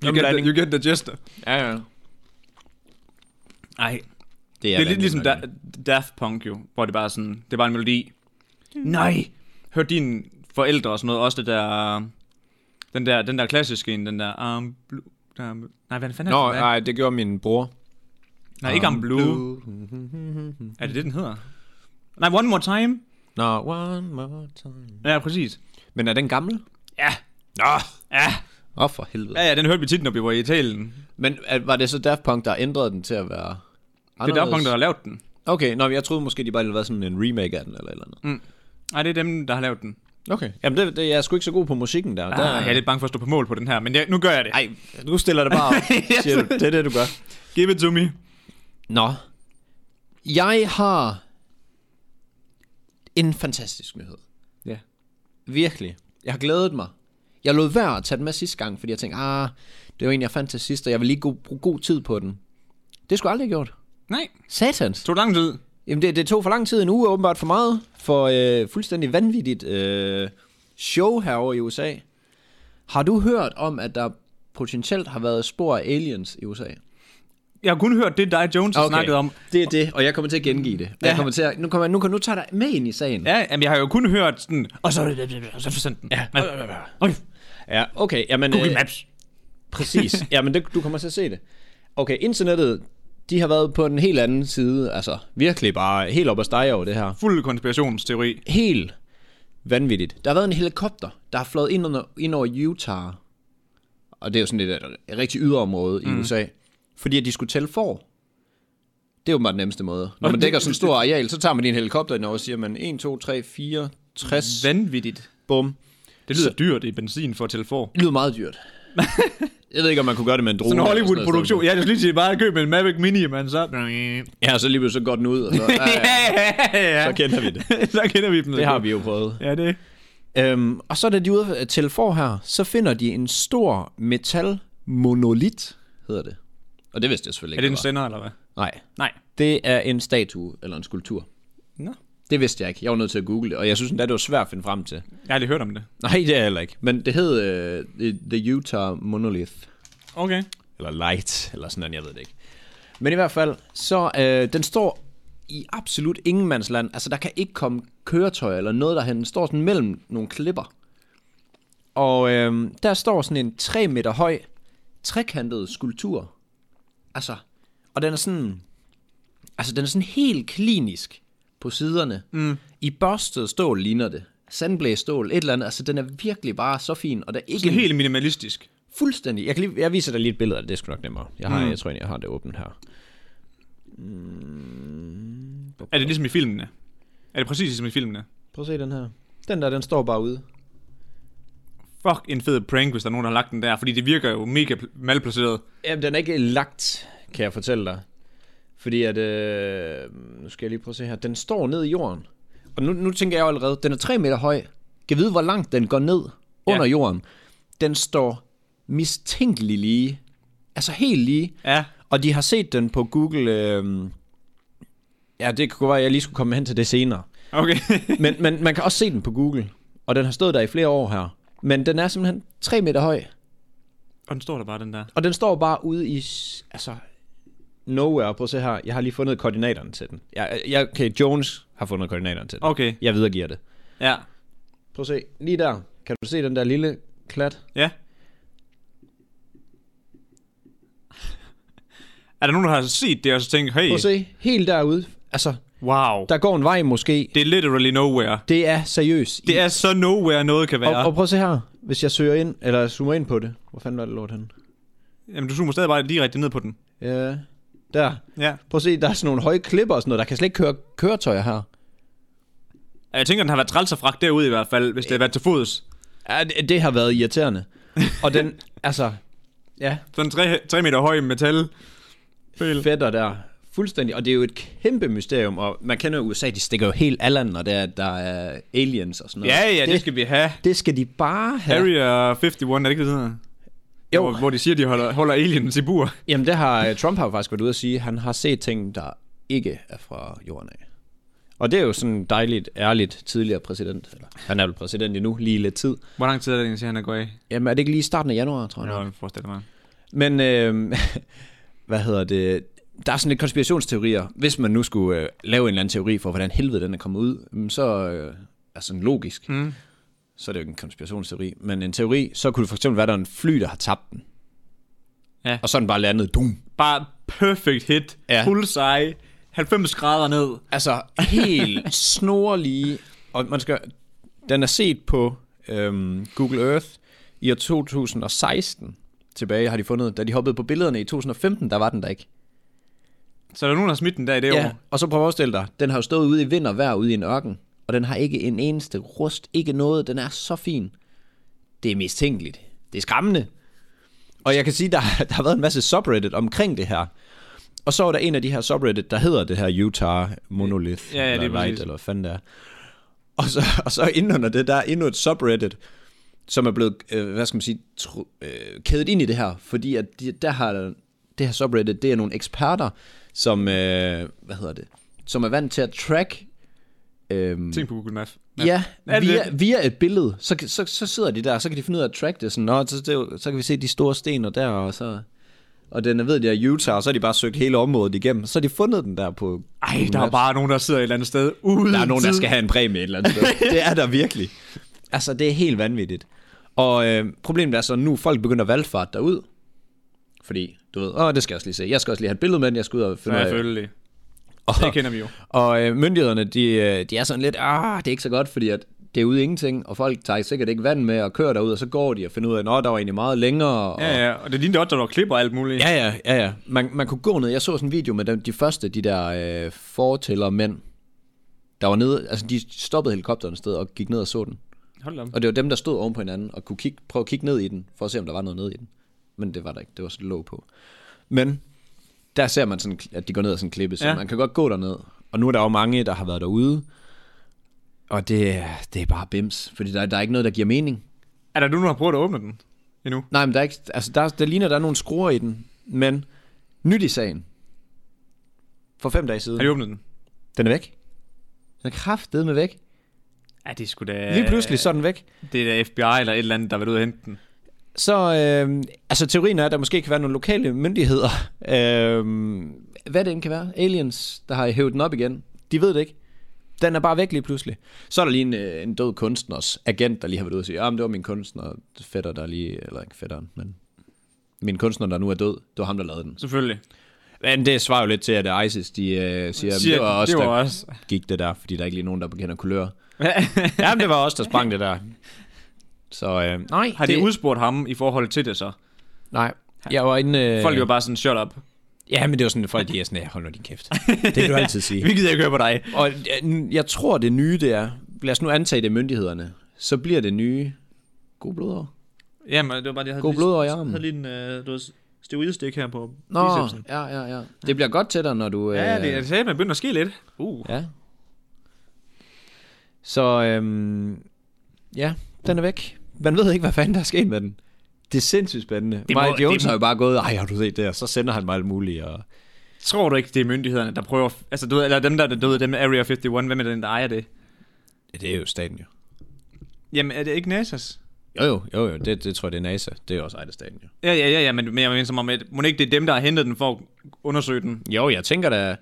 S1: You, get the, you get the gist.
S2: Ja, ja.
S1: Ej,
S2: Det
S1: det er lidt
S2: vanvittigt
S1: ligesom
S2: nok,
S1: da, Daft Punk jo, hvor det bare er sådan... Det var en melodi. Nej! Hørte dine forældre og sådan noget også det der... Den der, den der klassiske en, den der... Um, blue, der nej, hvad fanden er
S2: Nå,
S1: det?
S2: nej, det gjorde min bror.
S1: nej, ikke um, blue. blue. Er det det, den hedder? Nej, One More Time.
S2: Nå, one more time.
S1: Ja, præcis.
S2: Men er den gammel?
S1: Ja.
S2: Nå,
S1: Ja.
S2: åh oh, for helvede.
S1: Ja, ja, den hørte vi tit, når vi var i Italien.
S2: Men er, var det så Daft Punk, der ændrede den til at være
S1: Det er
S2: anderledes?
S1: Daft Punk, der har lavet den.
S2: Okay, nå, men jeg troede måske, de bare havde lavet sådan en remake af den eller et eller andet. Mm.
S1: Nej, det er dem, der har lavet den.
S2: Okay. Jamen, det, det, jeg er sgu ikke så god på musikken der.
S1: Ah,
S2: der
S1: jeg er lidt bange for at stå på mål på den her, men jeg, nu gør jeg det.
S2: Ej, nu stiller det bare *laughs* op, siger du. Det er det, du gør.
S1: Give it to me.
S2: Nå. Jeg har en fantastisk nyhed.
S1: Ja.
S2: Virkelig. Jeg har glædet mig. Jeg lod være at tage den med sidste gang, fordi jeg tænkte, ah, det var en, jeg fandt til sidst, og jeg vil lige go- bruge god tid på den. Det skulle jeg aldrig have gjort.
S1: Nej,
S2: Satans.
S1: tog det lang tid.
S2: Jamen, det, det tog for lang tid, en uge er åbenbart for meget, for øh, fuldstændig vanvittigt øh, show herovre i USA. Har du hørt om, at der potentielt har været spor af aliens i USA?
S1: Jeg har kun hørt det, dig Jones har okay. snakket om.
S2: Det er det, og jeg kommer til at gengive det.
S1: Ja.
S2: Ja. Jeg kommer til at, nu, kommer, jeg- nu, kan- nu tager jeg dig med ind i sagen.
S1: Ja, jamen, jeg har jo kun hørt sådan, og så, og så er det sådan. Ja. Men, Øh, okay.
S2: ja okay. Jamen, øh,
S1: Google
S2: *laughs*
S1: Maps.
S2: Præcis. Jamen, det, du kommer til at se det. Okay, internettet, de har været på en helt anden side. Altså, virkelig bare helt op og stege over det her.
S1: Fuld konspirationsteori.
S2: Helt vanvittigt. Der har været en helikopter, der har flået ind, under, ind over Utah. Og det er jo sådan et, et rigtig yderområde
S1: Mm.
S2: i USA. Fordi at de skulle tælle for. Det er jo bare den nemmeste måde. Når man
S1: det-
S2: dækker sådan en stor areal, så tager man din helikopter ind over og siger, man 1, 2, 3, 4, 60,
S1: Vanvittigt.
S2: bum.
S1: Det lyder dyrt i benzin for at tælle for.
S2: Det lyder meget
S1: *laughs*
S2: dyrt. jeg ved ikke, om man kunne gøre det med en drone.
S1: Uh, Sådan en
S2: eller noget
S1: Hollywood-produktion.
S2: i
S1: Jeg er lige til bare at købe en Mavic Mini, man så...
S2: stedet for. Ja, og så lige pludselig så går den ud,
S1: *laughs*
S2: og så, ja, ja,
S1: ja.
S2: så kender vi det.
S1: *laughs* så kender vi dem.
S2: Det har vi jo prøvet.
S1: Ja, det.
S2: Øhm, og så da de er ude til for her, så finder de en stor metalmonolit, hedder det. Og det vidste jeg selvfølgelig
S1: Er
S2: ikke.
S1: det en
S2: hvad
S1: sender, eller hvad?
S2: var. Nej,
S1: Nej.
S2: det er en statue eller en skulptur.
S1: Nå.
S2: Det vidste jeg ikke. Jeg var nødt til at google det, og jeg synes endda, det var svært at finde frem til.
S1: Jeg har aldrig hørt om det.
S2: Nej, det er jeg heller ikke. Men det hed øh, The- The Utah Monolith.
S1: Okay.
S2: Eller light, eller sådan noget, jeg ved det ikke. Men i hvert fald, så øh, den står i absolut ingenmandsland. Altså, der kan ikke komme køretøj eller noget derhen. Den står sådan mellem nogle klipper. Og øh, der står sådan en 3 meter høj, trekantet skulptur. Altså, og den er sådan... Altså, den er sådan helt klinisk på siderne. Mm. I børstet stål ligner det. Sandblæst stål, et eller andet. Altså, den er virkelig bare så fin, og der er ikke
S1: Det
S2: en
S1: er helt minimalistisk.
S2: Fuldstændig. Jeg, kan lige, jeg viser dig lige et billede af det, det er sgu nok nemmere. Jeg, har, mm. jeg tror egentlig, jeg har det åbent her.
S1: Er det ligesom i filmene? Er det præcis ligesom i filmene?
S2: Prøv at se den her. Den der, den står bare ude.
S1: Fuck en fed prank, hvis der er nogen, der har lagt den der, fordi det virker jo mega pl- malplaceret.
S2: Jamen, den er ikke lagt, kan jeg fortælle dig. Fordi at, øh, nu skal jeg lige prøve at se her. Den står ned i jorden. Og nu, nu tænker jeg jo allerede, den er 3 meter høj. Kan vide, hvor langt den går ned under
S1: Ja.
S2: jorden. Den står mistænkelig lige. Altså helt lige.
S1: Ja.
S2: Og de har set den på Google. Øh, ja, det kunne være, at jeg lige skulle komme hen til det senere.
S1: Okay.
S2: men, men man kan også se den på Google, og den har stået der i flere år her. Men den er simpelthen 3 meter høj,
S1: Og den står der bare, den der.
S2: og den står bare ude i, s- altså, nowhere. Prøv at se her, jeg har lige fundet koordinaterne til den. Jeg, jeg, okay, Jones har fundet koordinaterne til den.
S1: Okay,
S2: Jeg videregiver det.
S1: ja.
S2: Prøv at se, lige der, kan du se den der lille klat?
S1: Ja. *laughs* Er der nogen, der har set det, og så tænkt, hey,
S2: Prøv at se, helt derude, altså,
S1: wow,
S2: der går en vej måske.
S1: det er literally nowhere.
S2: Det er seriøst.
S1: Det er så nowhere, noget kan være.
S2: og, og prøv at se her, hvis jeg søger ind, eller zoomer ind på det. Hvor fanden var det lort henne?
S1: Jamen, du zoomer stadig bare direkte ned på den.
S2: Ja, der.
S1: Ja.
S2: Prøv at se, der er sådan nogle høje klipper og sådan noget. Der kan slet ikke køre køretøjer her.
S1: Jeg tænker, den har været træls og fragt derude i hvert fald, hvis det har været til fods.
S2: Ja, det, det har været irriterende.
S1: *laughs*
S2: Og den, altså, ja,
S1: Sådan 3, 3 meter høj metal. Fæl.
S2: fætter der fuldstændig. Og det er jo et kæmpe mysterium, og man kender jo USA, de stikker jo helt allan, når der, der er aliens og sådan noget.
S1: Ja, ja, det,
S2: det,
S1: det skal vi have.
S2: det skal de bare have.
S1: Area 51, er det ikke det, det hedder?
S2: Jo.
S1: Hvor, hvor de siger, de holder, holder aliens i bur.
S2: Jamen, det har øh, Trump har jo faktisk været ude at sige. Han har set ting, der ikke er fra jorden af. Og det er jo sådan dejligt, ærligt tidligere præsident. Eller, han er vel præsident endnu, lige lidt tid.
S1: Hvor lang tid er det egentlig, han er gået af?
S2: Jamen, er det ikke lige i starten af januar, tror jeg?
S1: Jeg
S2: Ja.
S1: har forestillet mig.
S2: Men, øh, *laughs* hvad hedder det? Der er sådan lidt konspirationsteorier. Hvis man nu skulle øh, lave en eller anden teori for, hvordan helvede den er kommet ud, mm, så øh, er sådan logisk.
S1: Mm.
S2: Så er det jo ikke en konspirationsteori. Men en teori, så kunne det for eksempel være, at der er en fly, der har tabt den.
S1: Ja.
S2: Og så er den bare landet. Dum.
S1: Bare perfect hit.
S2: Ja.
S1: Ja. Bullseye. 90 grader ned.
S2: Altså
S1: *laughs*
S2: helt snorlige. Og man skal, den er set på øhm, Google Earth i år 2016 tilbage, har de fundet. Da de hoppede på billederne i 2015, der var den der ikke.
S1: Så er der nogen, der har smidt den der i det år.
S2: Og så prøv at forestille dig, den har jo stået ude i vind og vejr ude i en ørken, og den har ikke en eneste rust, ikke noget. Den er så fin. Det er mistænkeligt. Det er skræmmende. Og jeg kan sige, der, *laughs* der har været en masse subreddit omkring det her. Og så var der en af de her subreddit, der hedder det her Utah Monolith,
S1: Ja, ja, lige
S2: eller Light,
S1: præcis.
S2: eller hvad fanden det er. Og så, *laughs* og så inden under det, der er endnu et subreddit, som er blevet, øh, hvad skal man sige, tro, øh, kædet ind i det her, fordi at de, der har, det her subreddit, det er nogle eksperter, som, øh, hvad hedder det, som er vant til at track, øh,
S1: Tænk på Google Maps.
S2: ja,
S1: Er det
S2: via, via et billede, så, kan- så, så sidder de der, og så kan de finde ud af at track det, sådan, Nå, så, det, så kan vi se de store sten og der, og så... Og den er ved, det er Utah, og så har de bare søgt hele området igennem. Så har de fundet den der på...
S1: Ej,
S2: Google
S1: der er
S2: Maps.
S1: bare nogen, der sidder et eller andet sted uden
S2: Der er nogen, der
S1: tid.
S2: skal have en præmie et eller
S1: *laughs*
S2: andet sted. det er der virkelig. Altså, det er helt vanvittigt. Og øh, problemet er så, nu er folk begynder at valgfart derud. Fordi, du ved, åh, det skal jeg også lige se. Jeg skal også lige have et billede med den, jeg skal ud og finde
S1: Ja,
S2: ud af-
S1: selvfølgelig.
S2: Og,
S1: Det kender vi jo.
S2: og øh, myndighederne, de, øh, de er sådan lidt, ah, det er ikke så godt, fordi at det er ude i ingenting, og folk tager sikkert ikke vand med og kører derud, og så går de og finder ud af, at der var egentlig meget længere. Og,
S1: Ja, ja. Og det lignede også, der var klipper og alt muligt.
S2: Ja, ja, ja, ja. Man, man kunne gå ned. Jeg så sådan en video med dem, de første, de der øh, fortæller mænd, der var nede, altså de stoppede helikopteren et sted og gik ned og så den.
S1: Hold da op.
S2: Og det var dem, der stod oven på hinanden og kunne kigge, prøve at kigge ned i den, for at se, om der var noget nede i den. Men det var der ikke. Det var sådan låg på. Men der ser man, sådan, at de går ned ad sådan en klippe, så ja.
S1: Ja.
S2: man kan godt gå derned. Og nu er der jo mange, der har været derude, og det, er- det er bare bims, fordi der, der er ikke noget, der giver mening.
S1: Er der nogen, der har prøvet at åbne den endnu?
S2: Nej, men der er ikke, altså der, der ligner, der er nogle skruer i den, men nyt i sagen. For fem dage siden.
S1: Har de åbnet den?
S2: Den er væk. Den er kraftedeme væk.
S1: Ja, det skulle da...
S2: Lige pludselig, så er den væk.
S1: Det er da FBI eller et eller andet, der har været ude og hente den.
S2: Så øh, altså teorien er, at der måske kan være nogle lokale myndigheder. Øh, hvad det end kan være. Aliens, der har hævet den op igen. De ved det ikke. Den er bare væk lige pludselig. Så er der lige en, øh, en død kunstners agent, der lige har været ude og sige, at det var min kunstner, fætter der lige, eller ikke fætteren, men min kunstner, der nu er død, det var ham, der lavede den.
S1: Selvfølgelig.
S2: Men det svarer jo lidt til, at ISIS, de øh, siger, at
S1: Siger,
S2: det var os, der
S1: også.
S2: gik det der, fordi der er ikke lige nogen, der bekender kulør. Jamen, det var os, der sprang det der. Så øh, nej,
S1: *laughs* Har de udspurgt ham i forhold til det så?
S2: Nej, jeg var inde... Øh,
S1: Folk er jo bare sådan, shut up.
S2: Ja, men det var sådan, at folk de er sådan, "Ja, hold nu din kæft. *laughs* Det kan du altid sige.
S1: Vi gider ikke høre på dig.
S2: Og øh, jeg tror, det nye det er, lad os nu antage det er myndighederne, så bliver det nye god blodår.
S1: Jamen, det var bare det, jeg havde
S2: God
S1: lige-
S2: blodår i armen.
S1: havde lige en øh, du ved, steroidestik her på
S2: Nå, ja, ja, ja. Det bliver godt til dig, når du... Øh,
S1: Ja, det er sagde, man begynder at ske lidt. Uh.
S2: Ja. Så øhm, ja, den er væk. Man ved ikke, hvad fanden der er sket med den. Det er sindssygt spændende. Det
S1: må-
S2: Mike Jones
S1: det må-
S2: har jo bare gået, ej, har du set det? Og så sender han mig alt muligt. Og...
S1: Tror du ikke, det er myndighederne, der prøver... Altså, du ved, eller dem, der er døde, dem med Area 51, hvem er den, der ejer det?
S2: Ja, det er jo staten jo.
S1: Jamen, er det ikke NASA's?
S2: Jo, jo, jo, jo. Det, det tror jeg, det er NASA. Det er også ejet af staten, jo.
S1: Ja, ja, ja, ja men, men jeg mener som om, at må det ikke det er dem, der har hentet den for at undersøge den?
S2: Jo, jeg tænker da...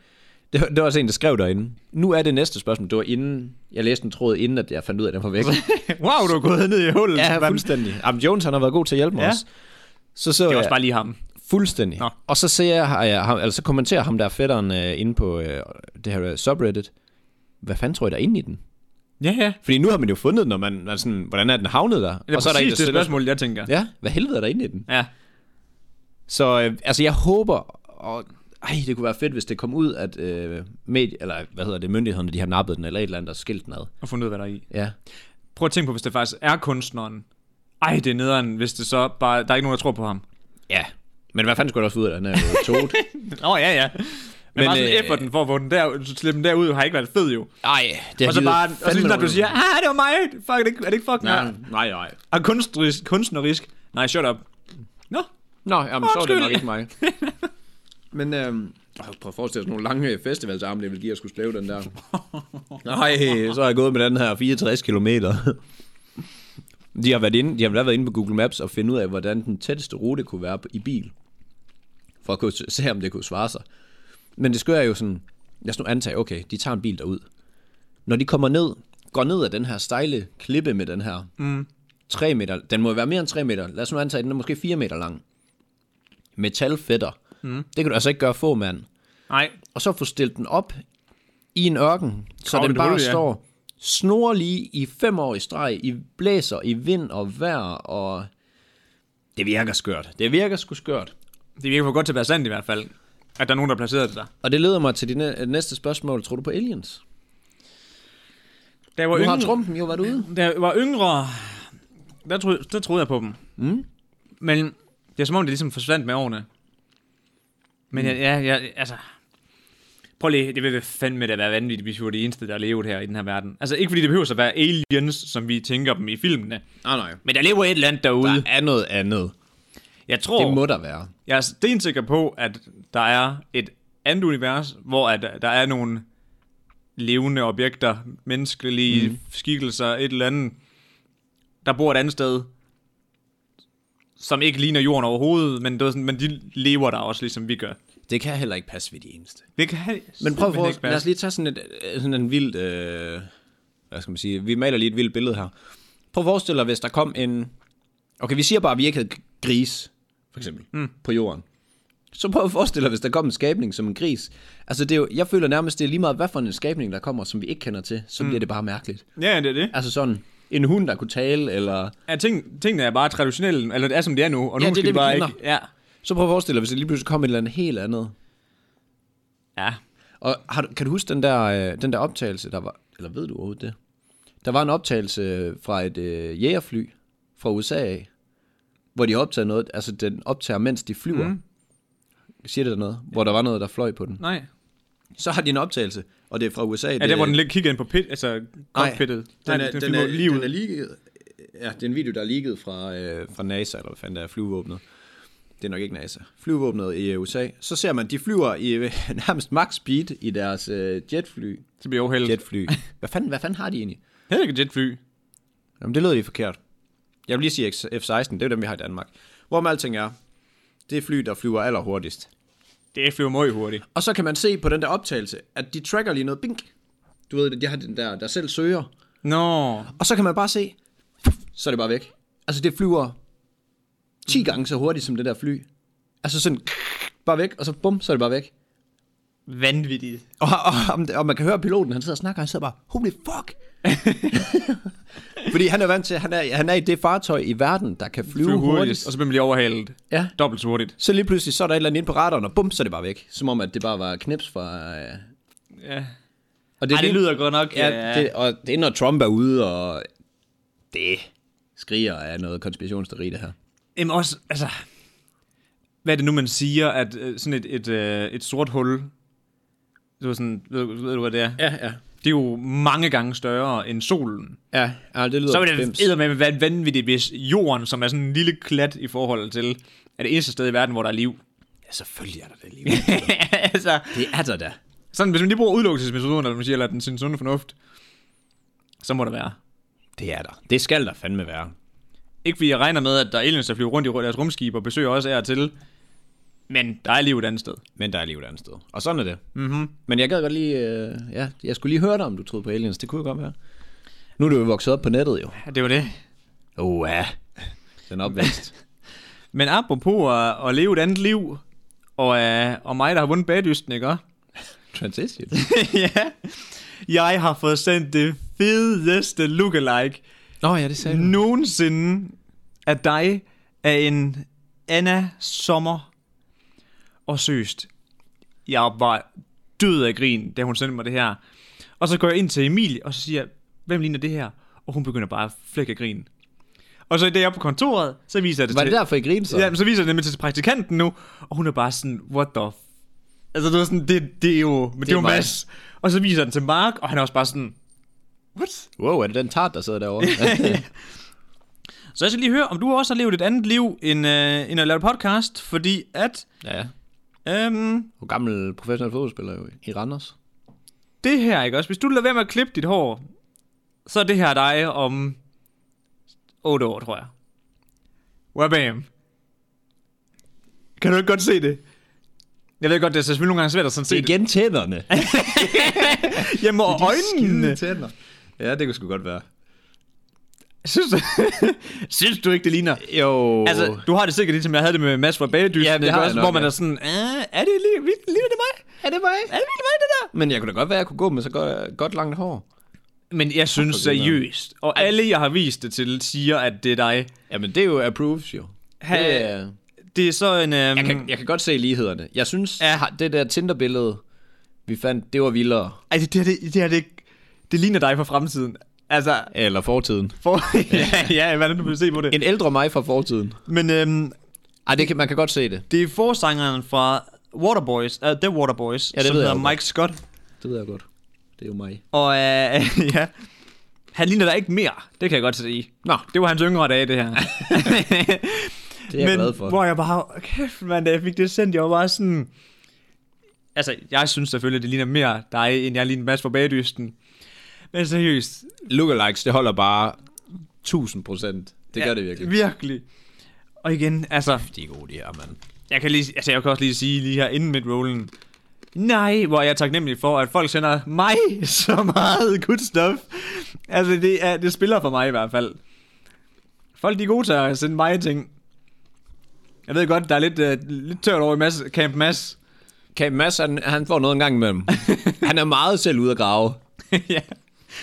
S2: Det var, det var også en, der skrev derinde. Nu er det næste spørgsmål. Det var inden... Jeg læste en tråd, inden at jeg fandt ud af, at
S1: *laughs*
S2: den var væk.
S1: *laughs* Wow, du er gået ned i hullet.
S2: *laughs* ja, fuldstændig. Jamen, Jones, han har været god til at hjælpe mig
S1: Ja.
S2: også. Så så
S1: Det er
S2: jeg,
S1: også bare lige ham.
S2: fuldstændig.
S1: Nå.
S2: Og så ser jeg, har jeg ham, altså kommenterer ham, der er fætteren øh, inde på øh, det her øh, subreddit. Hvad fanden tror jeg, der er inde i den?
S1: Ja, ja.
S2: Fordi nu har man jo fundet den, og man er sådan, hvordan er den havnet der?
S1: Det er
S2: og
S1: og
S2: så er der en,
S1: præcis
S2: der
S1: det
S2: stiller-
S1: spørgsmål, jeg tænker. Ja.
S2: Ja, hvad helvede er der inde i den?
S1: ja.
S2: Så øh, altså, jeg håber, og ej, det kunne være fedt, hvis det kom ud, at øh, medie, eller hvad hedder det, myndighederne, de har nappet den, eller et eller andet, der skilt den ad.
S1: Og fundet ud, hvad der er i.
S2: Ja.
S1: Prøv at tænke på, hvis det faktisk er kunstneren. Ej, det er nederen, hvis det så bare... Der er ikke nogen, der tror på ham.
S2: Ja. Men hvad fanden skulle der også ud af den her *laughs* øh, toad?
S1: Åh, oh, ja, ja. Men, men bare sådan
S2: øh,
S1: øh, efforten for at få den der, slippe den der ud, har ikke været fed jo.
S2: Ej, det har
S1: Og så
S2: givet
S1: bare, og så
S2: fandme
S1: lige når du
S2: nogle-
S1: siger, ah, det var mig, fuck, er det ikke, er det ikke fucking
S2: Ja,
S1: mig?
S2: nej, nej.
S1: Og kunstnerisk, kunstnerisk, nej, shut up. Nå,
S2: Nå, jamen, så er det
S1: Undskyld.
S2: nok ikke mig. *laughs* Men øhm, åh, prøv at forestille dig sådan nogle lange festivalsarme, det vil give, at jeg skulle slæve den der. Nej, så er jeg gået med den her 64 km. De har, været inde, de har været inde på Google Maps og finde ud af, hvordan den tætteste rute kunne være i bil. For at kunne se, om det kunne svare sig. Men det skører jo sådan, lad os nu antage, okay, de tager en bil derud. Når de kommer ned, går ned ad den her stejle klippe med den her, mm. 3 meter, den må jo være mere end 3 meter, lad os nu antage, den er måske 4 meter lang metalfætter. Mm. Det kan du altså ikke gøre få, mand.
S1: nej,
S2: Og så få stillet den op i en ørken, så
S1: Kravle
S2: den
S1: et
S2: bare
S1: hul, ja.
S2: står snor lige i fem år i streg, i blæser, i vind og vejr, og det virker skørt. Det virker sgu skørt.
S1: det virker for godt til at være sandt i hvert fald, at der er nogen, der placerede det der.
S2: Og det leder mig til det næ- næste spørgsmål. Tror du på aliens?
S1: Der var,
S2: Nu har
S1: yngre,
S2: Trumpen jo været ude.
S1: der var yngre, der, tro, der troede jeg på dem. Mm. Men det er som om, det ligesom forsvandt med årene. Men
S2: Mm.
S1: jeg, ja, jeg, altså... Prøv lige, det vil fandme da være vanvittigt, hvis vi var de eneste, der levede her i den her verden. Altså ikke fordi det behøver at være aliens, som vi tænker dem i filmene.
S2: Nej, Ah, nej.
S1: Men der lever et eller andet derude.
S2: Der er noget andet.
S1: Jeg tror,
S2: Det må der være.
S1: jeg er stensikker på, at der er et andet univers, hvor at der er nogle levende objekter, menneskelige mm. skikkelser, et eller andet, der bor et andet sted, som ikke ligner jorden overhovedet, men, det er sådan, men de lever der også, ligesom vi gør.
S2: Det kan heller ikke passe ved de eneste.
S1: Det kan
S2: Men prøv at
S1: simpelthen
S2: få,
S1: ikke
S2: lad os
S1: passe.
S2: lige tage sådan, et, øh, sådan en vild, øh, hvad skal man sige, vi maler lige et vildt billede her. Prøv at forestille dig, hvis der kom en, okay, vi siger bare, at vi ikke havde gris, for eksempel, mm. på jorden. Så prøv at forestille dig, hvis der kom en skabning som en gris. Altså, det er jo, jeg føler nærmest, det er lige meget, hvad for en skabning, der kommer, som vi ikke kender til, så mm. bliver det bare mærkeligt.
S1: Ja, ja, det er det.
S2: Altså sådan, en hund, der kunne tale, eller...
S1: Ja, ting, tingene er bare traditionelle, eller det er som det er nu, og nu
S2: Ja, det er
S1: skal
S2: det,
S1: de
S2: vi
S1: bare
S2: kender.
S1: ikke... Ja.
S2: Så prøv at forestille dig, hvis det lige pludselig kom et eller andet helt andet.
S1: ja.
S2: Og har, du- kan du huske den der, øh, den der optagelse, der var, eller ved du overhovedet det? Der var en optagelse fra et øh, jægerfly fra USA af, hvor de optager noget, altså den optager, mens de flyver. Mm. Siger det der noget? Hvor der var noget, der fløj på den.
S1: Nej.
S2: Så har de en optagelse, og det er fra USA.
S1: Ja, der hvor den ligger- kigger ind på pit, altså cockpittet. Nej, flyver lige ud.
S2: ligget, ja, det er en video, der er ligget fra, øh, fra NASA, eller hvad fanden der er, flyvåbnet. Det er nok ikke NASA. Flyvåbnet i øh, USA. Så ser man, de flyver i øh, *laughs* nærmest max speed i deres øh, jetfly.
S1: Så bliver jeg uheldet.
S2: Jetfly. *laughs* Hvad fanden, hvad fanden har de egentlig?
S1: Hedder det ikke jetfly?
S2: Jamen, det lød lige forkert. Jeg vil lige sige X- F-16, det er jo dem, vi har i Danmark. Hvor med alting er, det er fly, der flyver allerhurtigst.
S1: Det flyver møg hurtigt.
S2: Og så kan man se på den der optagelse, at de tracker lige noget bink. Du ved det, de har den der, der selv søger.
S1: Nå.
S2: Og så kan man bare se, så er det bare væk. Altså, det flyver 10 gange så hurtigt som det der fly. Altså sådan, bare væk, og så bum, så er det bare væk.
S1: Vanvittigt.
S2: Og, og, og, og man kan høre piloten, han sidder og snakker, og han sidder bare, holy fuck! Fordi han er vant til, han er, han er i det fartøj i verden, der kan flyve,
S1: Flyver
S2: flyve
S1: hurtigt,
S2: hurtigt.
S1: og så bliver man lige overhalet.
S2: Ja.
S1: Dobbelt så hurtigt.
S2: Så lige pludselig, så er der et eller andet inde på radaren, og bum, så er det bare væk. Som om, at det bare var knips fra... Øh...
S1: Ja.
S2: Og
S1: Ej, det lyder godt nok.
S2: Ja, det, og det er, når Trump er ude, og det skriger af noget konspirationsteori, det her.
S1: Jamen også, altså... Hvad er det nu, man siger, at øh, sådan et, et, øh, et sort hul... Du ved, sådan, ved, du- ved du, hvad det er?
S2: Ja, ja.
S1: Det er jo mange gange større end solen.
S2: Ja, ja det lyder
S1: Så vil
S2: bims.
S1: det med være vanvittigt, hvis jorden, som er sådan en lille klat i forhold til, er det eneste sted i verden, hvor der er liv.
S2: Ja, selvfølgelig er der det lige.
S1: *laughs* altså,
S2: Det er der da.
S1: sådan, hvis man lige bruger udelukkelsesmetoden, eller, man siger, eller den sin sunde fornuft, så må der være
S2: Det er der. Det skal der fandme være.
S1: Ikke fordi jeg regner med, at der er aliens, der flyver rundt i deres rumskib og besøger os af og til. Men der er liv et andet sted.
S2: Men der er liv et andet sted. Og sådan er det.
S1: Mm-hmm.
S2: Men jeg gad godt lige... Øh, ja, jeg skulle lige høre dig, om du troede på aliens. Det kunne jo godt være. Nu er du jo vokset op på nettet, jo.
S1: Ja, det var det.
S2: Oh, ja. Den opvækst.
S1: Men apropos at, at leve et andet liv, og, uh, og mig, der har vundet bagdysten, ikke også?
S2: *laughs* Transition.
S1: ja. Jeg har fået sendt det fedeste lookalike
S2: Nå ja, det sagde
S1: nogensinde af dig af en Anna Sommer. Og søst, jeg var død af grin, da hun sendte mig det her. Og så går jeg ind til Emilie, og så siger jeg, hvem ligner det her? Og hun begynder bare at flække af grin. Og så i dag jeg er på kontoret, så viser jeg det
S2: Var
S1: til...
S2: det derfor, I grinede så?
S1: Så. Ja, men så viser jeg det nemlig til praktikanten nu, og hun er bare sådan, what the f... Altså, du er sådan, det, det er jo, men det, det er jo
S2: mig.
S1: Mads. Og så viser jeg den til Mark, og han er også bare sådan, what?
S2: Wow, er det den tart, der sidder *laughs* derovre?
S1: Så jeg skal lige høre, om du også har levet et andet liv, end, øh, end at lave podcast, fordi at,
S2: ja, ja.
S1: øhm,
S2: Du er gammel professionel fodboldspiller jo i Randers.
S1: det her, ikke også? Hvis du lader være med at klippe dit hår, så er det her dig om 8 år, tror jeg. Wabam. Kan du ikke godt se det? Jeg ved godt, det er selvfølgelig nogle gange svært at sådan se det.
S2: igen *laughs* tænderne.
S1: Jamen, og øjnene.
S2: *laughs* tænder. Ja, det kunne sgu godt være.
S1: Synes du, *laughs* synes du ikke, det ligner?
S2: Jo.
S1: Altså, du har det sikkert ligesom jeg havde det med Mads fra Bagedysten,
S2: Ja, det
S1: ikke
S2: har jeg
S1: også,
S2: nok,
S1: hvor man
S2: ja.
S1: er sådan, "Ah, er det lige, li- ligner det mig?
S2: er det mig?
S1: Er det virkelig mig, det der?
S2: Men jeg kunne da godt være, at jeg kunne gå med så godt, godt langt hår.
S1: Men jeg synes
S2: for det,
S1: seriøst, og alle jeg har vist det til, siger, at det er dig.
S2: Jamen, det er jo approves jo.
S1: Ha-
S2: Det er-
S1: Det er så en... Øhm,
S2: jeg, kan, jeg kan godt se lighederne. Jeg synes,
S1: Ja.
S2: ja. det der Tinder-billede, vi fandt, det var vildere.
S1: Ej, det, det, her, det, det, her, det, det ligner dig fra fremtiden. Altså,
S2: Eller fortiden.
S1: for, *laughs* ja, ja, hvordan du vil se på det.
S2: En ældre mig fra fortiden.
S1: Men øhm,
S2: Ej, det kan, man kan godt se det.
S1: det er forsangeren fra Waterboys, uh, The Waterboys,
S2: Ja, det
S1: som
S2: ved jeg
S1: hedder
S2: jo
S1: Mike Scott.
S2: Det ved jeg godt. Det er jo mig.
S1: Og øh, *laughs* ja, han ligner der ikke mere, det kan jeg godt sige. Nå, det var hans yngre dage, det her. *laughs*
S2: Det er jeg
S1: Men
S2: glad for.
S1: hvor jeg bare, kæft mand, da jeg fik det sendt, jeg var bare sådan... Altså, jeg synes selvfølgelig, det ligner mere dig, end jeg ligner Mads fra Bagdysten. Men seriøst.
S2: Lookalikes, det holder bare 1000 procent. Det gør
S1: ja,
S2: det virkelig.
S1: Virkelig. Og igen, altså,
S2: De er gode, de her, mand.
S1: jeg kan, lige, altså, jeg kan også lige sige lige her inden midrollen, nej, hvor jeg er taknemmelig for, at folk sender mig *laughs* så meget good stuff. Altså, det, er, det spiller for mig i hvert fald. Folk de er gode til at sende mig ting. Jeg ved godt, der er lidt, uh, lidt tørt over i Mads, Camp
S2: *laughs*
S1: Mads.
S2: Okay, Mads, han, han får noget en gang imellem. han er meget selv ude at grave.
S1: *laughs* ja.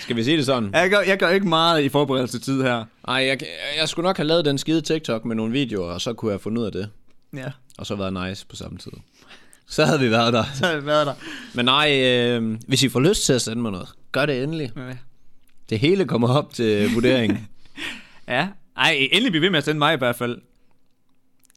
S2: Skal vi sige det sådan?
S1: jeg, gør, jeg gør ikke meget i forberedelsetid her.
S2: Ej, jeg, jeg skulle nok have lavet den skide TikTok med nogle videoer, og så kunne jeg have fundet ud af det.
S1: Ja,
S2: Og så været nice på samme tid. Så havde vi været der.
S1: så har jeg været der.
S2: Men nej, øh, hvis I får lyst til at sende mig noget, gør det endelig. Det hele kommer op til
S1: *laughs*
S2: vurdering.
S1: Ja, ej, endelig bliv ved med at sende mig i hvert fald.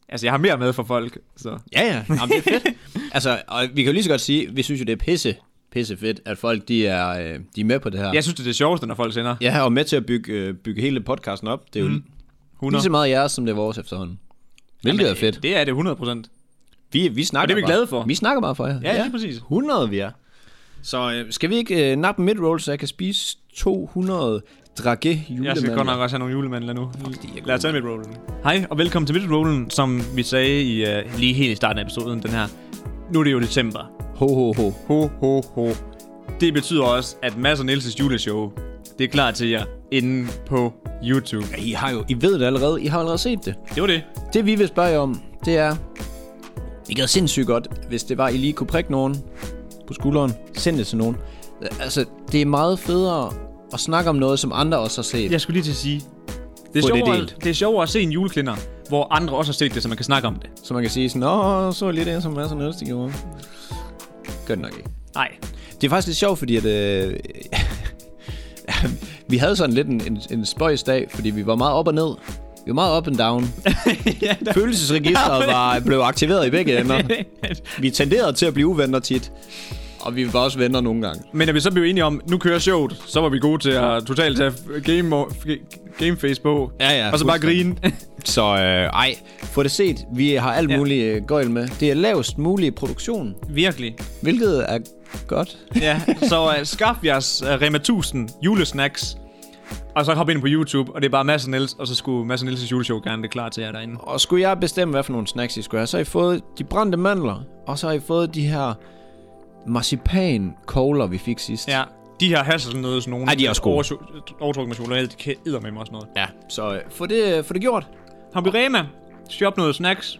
S1: Altså, jeg har mere med for folk, så...
S2: Ja, ja. Jamen, det er fedt. altså, og vi kan jo lige så godt sige, vi synes jo, det er pisse, pisse fedt, at folk de er, øh, de er med på det her.
S1: Jeg synes, det er det sjoveste, når folk sender.
S2: Jeg har jo med til at bygge, øh, bygge hele podcasten op. Det er jo mm.
S1: 100.
S2: lige så meget jeres, som det er vores efterhånden. Hvilket Jamen, er fedt.
S1: Det er det 100%.
S2: Vi, vi snakker
S1: Og det er vi
S2: bare-
S1: glade for.
S2: Vi snakker bare for jer.
S1: Ja, lige præcis.
S2: 100 vi er. Så øh, skal vi ikke øh, nappe midroll, så jeg kan spise 200 drage julemandler?
S1: Jeg skal godt nok også have nogle julemandler nu.
S2: er
S1: Lad os tage midrollen. Hej, og velkommen til midrollen, som vi sagde i, uh, lige helt i starten af episoden, den her. Nu er det jo december.
S2: Ho, ho, ho.
S1: Ho, ho, ho. Det betyder også, at Mads og Niels' juleshow, det er klar til jer inde på YouTube.
S2: Ja, I, har jo, I ved det allerede. I har allerede set det.
S1: Det var det.
S2: Det vi vil spørge jer om, det er... Det gad sindssygt godt, hvis det var, I lige kunne prikke nogen på skulderen. Send det til nogen. Altså, det er meget federe at snakke om noget, som andre også har set.
S1: Jeg skulle lige til at sige, det er,
S2: Få det
S1: sjovere, det,
S2: delt.
S1: det er sjovere at se en juleklinder, hvor andre også har set det, så man kan snakke om det.
S2: Så man kan sige sådan, Nå, så lige det, som er sådan noget, de gjorde. Gør det nok ikke.
S1: Nej.
S2: Det er faktisk lidt sjovt, fordi at... Øh, *laughs* vi havde sådan lidt en, en, en spøjs dag, fordi vi var meget op og ned. Vi var meget up and down.
S1: *laughs* ja, der...
S2: Følelsesregisteret var, blev aktiveret i begge ender. Vi tenderede til at blive uvenner tit. Og vi var også venner nogle gange.
S1: Men da vi så blev enige om, nu kører showet, så var vi gode til at totalt tage game, gameface på.
S2: Ja, ja,
S1: Og så bare grine.
S2: fuldstændig. *laughs* Så øh, ej, få det set. Vi har alt
S1: Ja.
S2: muligt øh, gøjl med. Det er lavest mulig produktion,
S1: Virkelig.
S2: hvilket er godt.
S1: øh, Ja, så uh, skaf jeres uh, Rema 1000 julesnacks. Og Og så hoppe ind på YouTube, og det er bare Mads og Niels, og så skulle Mads og Niels' juleshow gerne det klar til jer derinde.
S2: Og skulle jeg bestemme, hvad for nogle snacks I skulle have, så har I fået de brændte mandler, og så har I fået de her marcipan-kogler, vi fik sidst.
S1: Ja. De her hasselnøds, nogen
S2: Ej, de er også gode.
S1: oversu- overtrukket med chokolade, de kan edder med mig også noget.
S2: ja. Så øh, få det, få det gjort.
S1: Hop i Rema, shop noget snacks.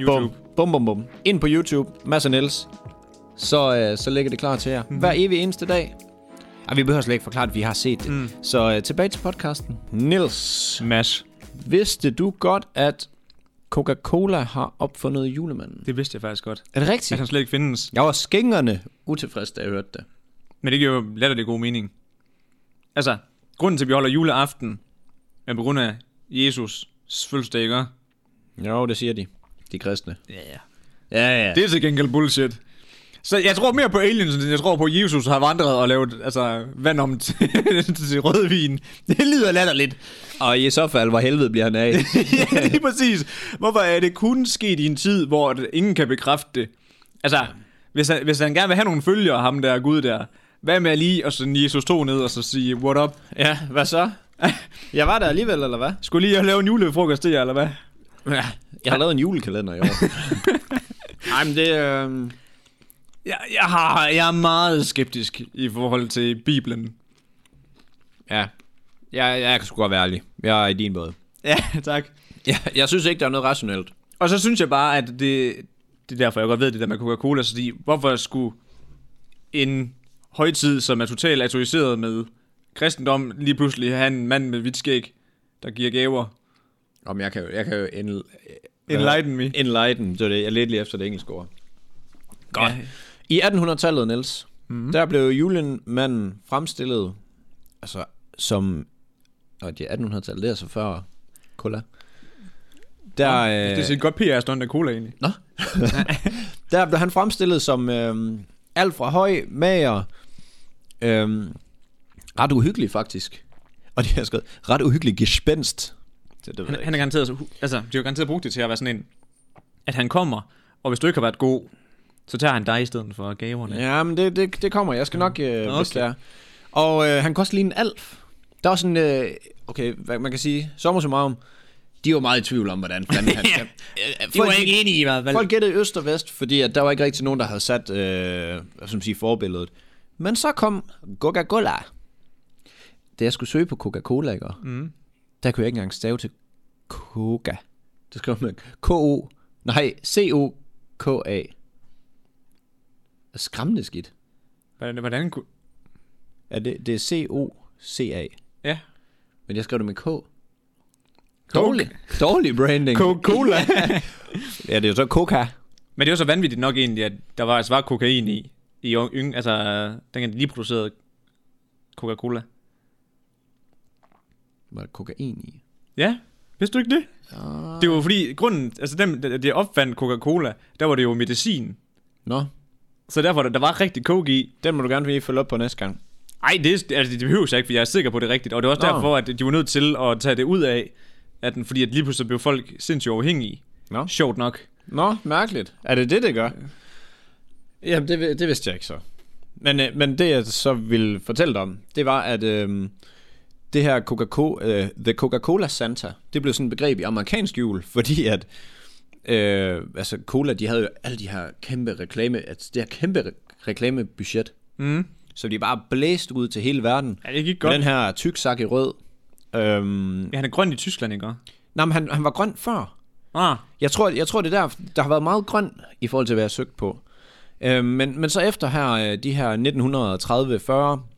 S1: YouTube. Bum.
S2: Bum, bum, bum. Ind på YouTube, Mads og Niels. Så, øh, så ligger det klar til jer. Mm-hmm. Hver evig eneste dag. Ej, vi behøver slet ikke forklare, at vi har set det. Mm. Så øh, tilbage til podcasten. Niels,
S1: Mads.
S2: vidste du godt, at Coca-Cola har opfundet julemanden?
S1: Det vidste jeg faktisk godt.
S2: Er det
S1: At
S2: rigtigt?
S1: han slet ikke findes.
S2: Jeg var skængerne utilfreds, da jeg hørte det.
S1: Men det giver jo latterlig god mening. Altså, grunden til, at vi holder juleaften, er på grund af Jesus fødselsdag, ikke?
S2: Jo, det siger de. De kristne.
S1: Ja.
S2: Ja, ja.
S1: Det er til gengæld bullshit. Så jeg tror mere på aliens, end jeg tror på, at Jesus har vandret og lavet altså, vand om *laughs* til, til rødvin. Det lyder latterligt.
S2: Og i så fald, hvor helvede bliver han *laughs* af?
S1: *laughs* ja, lige præcis. Hvorfor er det kun sket i en tid, hvor det- ingen kan bekræfte det? Altså, hvis han, hvis han gerne vil have nogle følgere, ham der Gud der, hvad med lige at sende Jesus 2 ned og så sige, what up?
S2: ja, hvad så? Jeg var der alligevel, eller hvad?
S1: *laughs* Skulle lige lave en julefrokost til jer, eller hvad?
S2: Ja, jeg har lavet en julekalender *laughs* i år. Nej, men det... Øh...
S1: Jeg, jeg, har, jeg er meget skeptisk i forhold til Bibelen.
S2: Ja, jeg, jeg kan sgu godt være ærlig. Jeg er i din båd.
S1: Ja, *laughs* tak.
S2: Jeg, jeg synes ikke, der er noget rationelt.
S1: Og så synes jeg bare, at det, det er derfor, jeg godt ved det der med Coca-Cola, så de, hvorfor skulle en højtid, som er totalt autoriseret med kristendom, lige pludselig have en mand med hvidt skæg, der giver gaver?
S2: Om jeg kan jo, jeg kan jo en,
S1: Enlighten me.
S2: enlighten, det er det. Jeg lidt lige efter det engelske ord. Godt.
S1: Ja.
S2: I 1800-tallet, Niels, mm-hmm. der blev julemanden fremstillet altså, som... Og det er 1800-tallet, det er så før cola. Der, øh,
S1: Det er sådan et godt PR-stund af cola egentlig.
S2: Nå. *laughs* der blev han fremstillet som øh, alt fra høj, mager, øh, ret uhyggelig faktisk. Og det har jeg skrevet, ret uhyggelig gespenst. Det, det ved
S1: Han, han er garanteret, så hu- altså, de har garanteret brugt det til at være sådan en, at han kommer, og hvis du ikke har været god, så tager han dig i stedet for gaverne.
S2: Ja, men det, det, det kommer. Jeg skal nok, øh, okay. hvis
S1: Okay.
S2: det er. Og øh, han kan også ligne en alf. Der er også en, øh, okay, hvad man kan sige, sommer som om, de var meget i tvivl om, hvordan fanden han...
S1: *laughs* Ja, øh,
S2: det var ikke
S1: enige i, hvad?
S2: Folk gættede øst og vest, fordi at der var ikke rigtig nogen, der havde sat øh, hvad skal man sige, forbilledet. Men så kom Coca-Cola. Da jeg skulle søge på Coca-Cola, ikke? Mm. der kunne jeg ikke engang stave til Coca. Det skrev man K-O... Nej, C-O-K-A. Skræmmende skidt.
S1: Hvordan, hvordan kunne...
S2: Ja, det, det er C-O-C-A.
S1: Ja.
S2: Men jeg skrev det med K. Dårlig. Dårlig branding.
S1: Coca-Cola.
S2: *laughs* ja, det er jo så Coca.
S1: Men det er jo så vanvittigt nok egentlig, at der var, altså var kokain i, i yng, altså dengang de lige producerede Coca-Cola.
S2: Var der kokain i?
S1: Ja, vidste du ikke det? Ah. Det var jo fordi, grunden, altså dem, der der opfandt Coca-Cola, der var det jo medicin.
S2: Nå,
S1: Så derfor, der, der var rigtig coke i.
S2: den må du gerne lige følge op på næste gang.
S1: Ej, det, altså, det behøves jeg ikke, for jeg er sikker på, det er rigtigt. Og det var også
S2: Nå.
S1: Nå. derfor, at de var nødt til at tage det ud af, at den, fordi at lige pludselig blev folk sindssygt overhængige.
S2: Nå.
S1: Sjovt nok.
S2: Nå, mærkeligt. Er det det, det gør? Jamen, det, vi- det vidste jeg ikke så. Men, øh, men det, jeg så ville fortælle dig om, det var, at øh, det her Coca-Cola, øh, The Coca-Cola Santa, det blev sådan et begreb i amerikansk jul, fordi at øh, altså Cola, de havde jo alle de her kæmpe reklame, altså det her kæmpe re- reklamebudget,
S1: Mm.
S2: så de bare blæst ud til hele verden.
S1: Ja, det gik
S2: Med
S1: godt.
S2: den her tyk sak i rød. Øhm,
S1: Ja, han er grøn i Tyskland, ikke? også?
S2: nej, men han, han var grøn før.
S1: Ah,
S2: Jeg tror, jeg tror det er der, der har været meget grøn i forhold til, hvad jeg har søgt på. Øh, men, men så efter her, øh, de her 1930-40,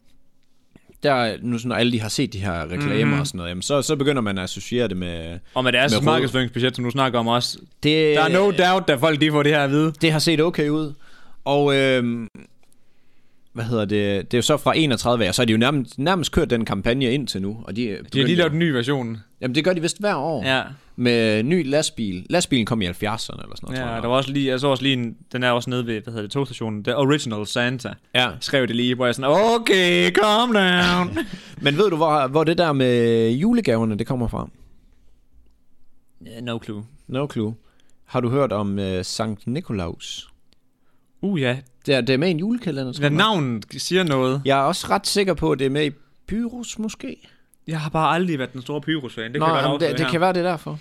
S2: der nu sådan, når alle de har set de her reklamer
S1: Mhm.
S2: mm-hmm. og sådan noget, jamen, så, så begynder man at associere det med...
S1: og med Øh. deres
S2: Med rød.
S1: markedsføringsbudget, som du snakker om også,
S2: Det, øh,
S1: Der er no doubt, at folk de får det her at vide.
S2: det har set okay ud. Og øh, hvad hedder det? Det er jo så fra 31 af, og så har de jo nærmest, nærmest kørt den kampagne ind til nu. Og de,
S1: De har lige lavet en ny version.
S2: Jamen det gør de vist hver år.
S1: Ja,
S2: Med ny lastbil. Lastbilen kom i 70'erne eller sådan noget, tror
S1: ja
S2: jeg.
S1: der var også lige, jeg så også lige en, den er også nede ved, hvad hedder det, togstationen, The Original Santa.
S2: Ja.
S1: Skrev det lige, hvor jeg sådan, okay, calm
S2: *laughs*
S1: down.
S2: Men ved du, hvor, hvor det der med julegaverne, det kommer fra?
S1: yeah, no clue.
S2: No clue. Har du hørt om øh, Sankt Nikolaus?
S1: Uh ja,
S2: Det er, det er med i en julekalender, tror
S1: hvad
S2: jeg.
S1: navnet siger noget.
S2: Jeg er også ret sikker på, at det er med i Pyrus måske?
S1: Jeg har bare aldrig været den store Pyrus-fan. Det
S2: Nå,
S1: kan jeg
S2: jamen,
S1: godt
S2: det, det kan være det er derfor.